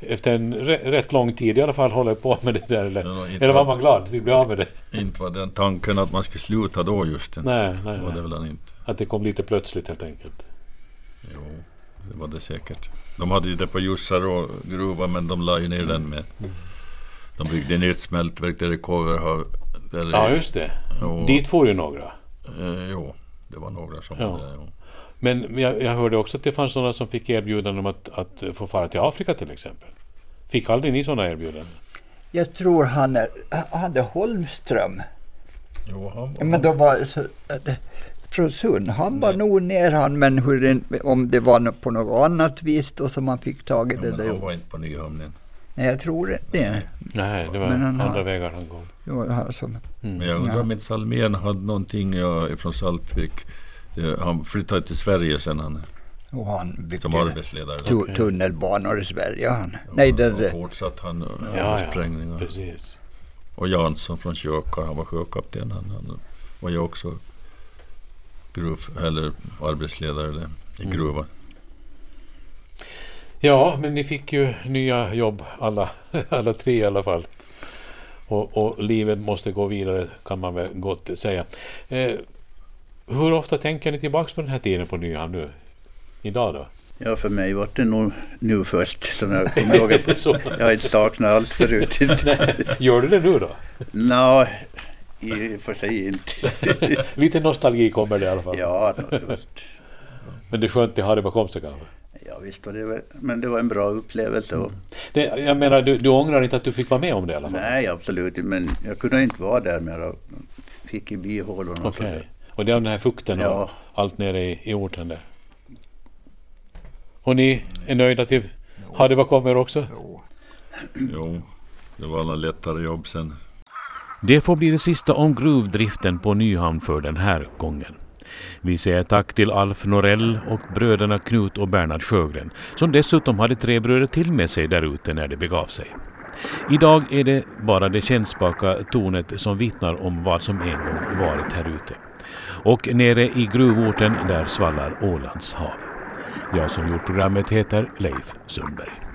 S1: Efter en re- rätt lång tid i alla fall håller på med det där eller?
S3: Ja, då, inte
S1: eller var
S3: var-
S1: man glad att bli av med det?
S3: Inte var den tanken att man skulle sluta då just. inte.
S1: Nej, nej,
S3: Det var det
S1: nej.
S3: väl han inte.
S1: Att det kom lite plötsligt helt enkelt.
S3: Jo, det var det säkert. De hade ju det på Jussarå gruva, men de la ju ner den med.
S1: Mm.
S3: De byggde nytt smältverk där i Kågerhav. där
S1: Ja,
S3: i-
S1: just det.
S3: och-
S1: Dit får ju några.
S3: Eh, jo, det var några som
S1: Ja.
S3: var där. Jo.
S1: Men jag, jag hörde också att det fanns sådana som fick erbjudanden om att, att få fara till Afrika till exempel. Fick aldrig ni sådana erbjudanden?
S2: Jag tror han, är, han hade Holmström.
S3: Jo, han,
S2: Ja, Men de var så, att, eh, från Sund. Han var nog ner han, men hur det, om det var nå- på något annat vis då som man fick tag i
S3: ja,
S2: det
S3: men
S2: där.
S3: han var inte på Nyhamnen.
S2: Nej, jag tror inte det.
S1: Nej, det var
S2: Men han har-
S1: andra vägar han gått.
S2: Det var han som-
S1: Mm.
S3: Men jag undrar om inte Salmén hade någonting ja, från Saltvik. Eh, Han flyttade till Sverige sen han
S2: Och han
S3: som
S2: byggde
S3: arbetsledare.
S2: tu, tunnelbanor i Sverige. Han. Nej, det,
S3: Och
S2: det,
S3: fortsatt han eh,
S1: Ja, ja.
S3: sprängningar.
S1: Precis.
S3: Och Jansson från Kjöka, han var sjökapten. Han, han var ju också gruv, eller arbetsledare där, i gruvan.
S1: Ja, men ni fick ju nya jobb alla, alla tre i alla fall. Och, och livet måste gå vidare kan man väl gott säga. Eh, hur ofta tänker ni tillbaks på den här tiden på Nyhamn nu? Idag då?
S4: Ja, för mig var det nog nu först som jag kommer ihåg att
S1: Så,
S4: jag har inte saknat alls förut.
S1: gör du det nu då?
S4: Nå, i och för sig inte.
S1: Lite nostalgi kommer det i alla fall.
S4: Ja, nå, just.
S1: Men det är skönt att ha det bakom sig kanske?
S4: ja visst var det väl, men det var en bra upplevelse. Och,
S1: Det, jag menar, du, du ångrar inte att du fick vara med om det i alla fall?
S4: nej, absolut inte, men jag kunde inte vara där mer. Jag fick i bihålorna. och
S1: Okej.
S4: sådär.
S1: Och det är av den här fukten och
S4: Ja.
S1: allt nere i, i orten där. Och ni är nöjda till... Har det bakom er också?
S3: Jo, det var alla lättare jobb sen.
S1: Det får bli det sista om gruvdriften på Nyhamn för den här gången. Vi säger tack till Alf Norell och bröderna Knut och Bernhard Sjögren som dessutom hade tre bröder till med sig där ute när det begav sig. Idag är det bara det kännspaka tornet som vittnar om vad som en gång varit här ute. Och nere i gruvorten där svallar Ålands hav. Jag som gjort programmet heter Leif Sundberg.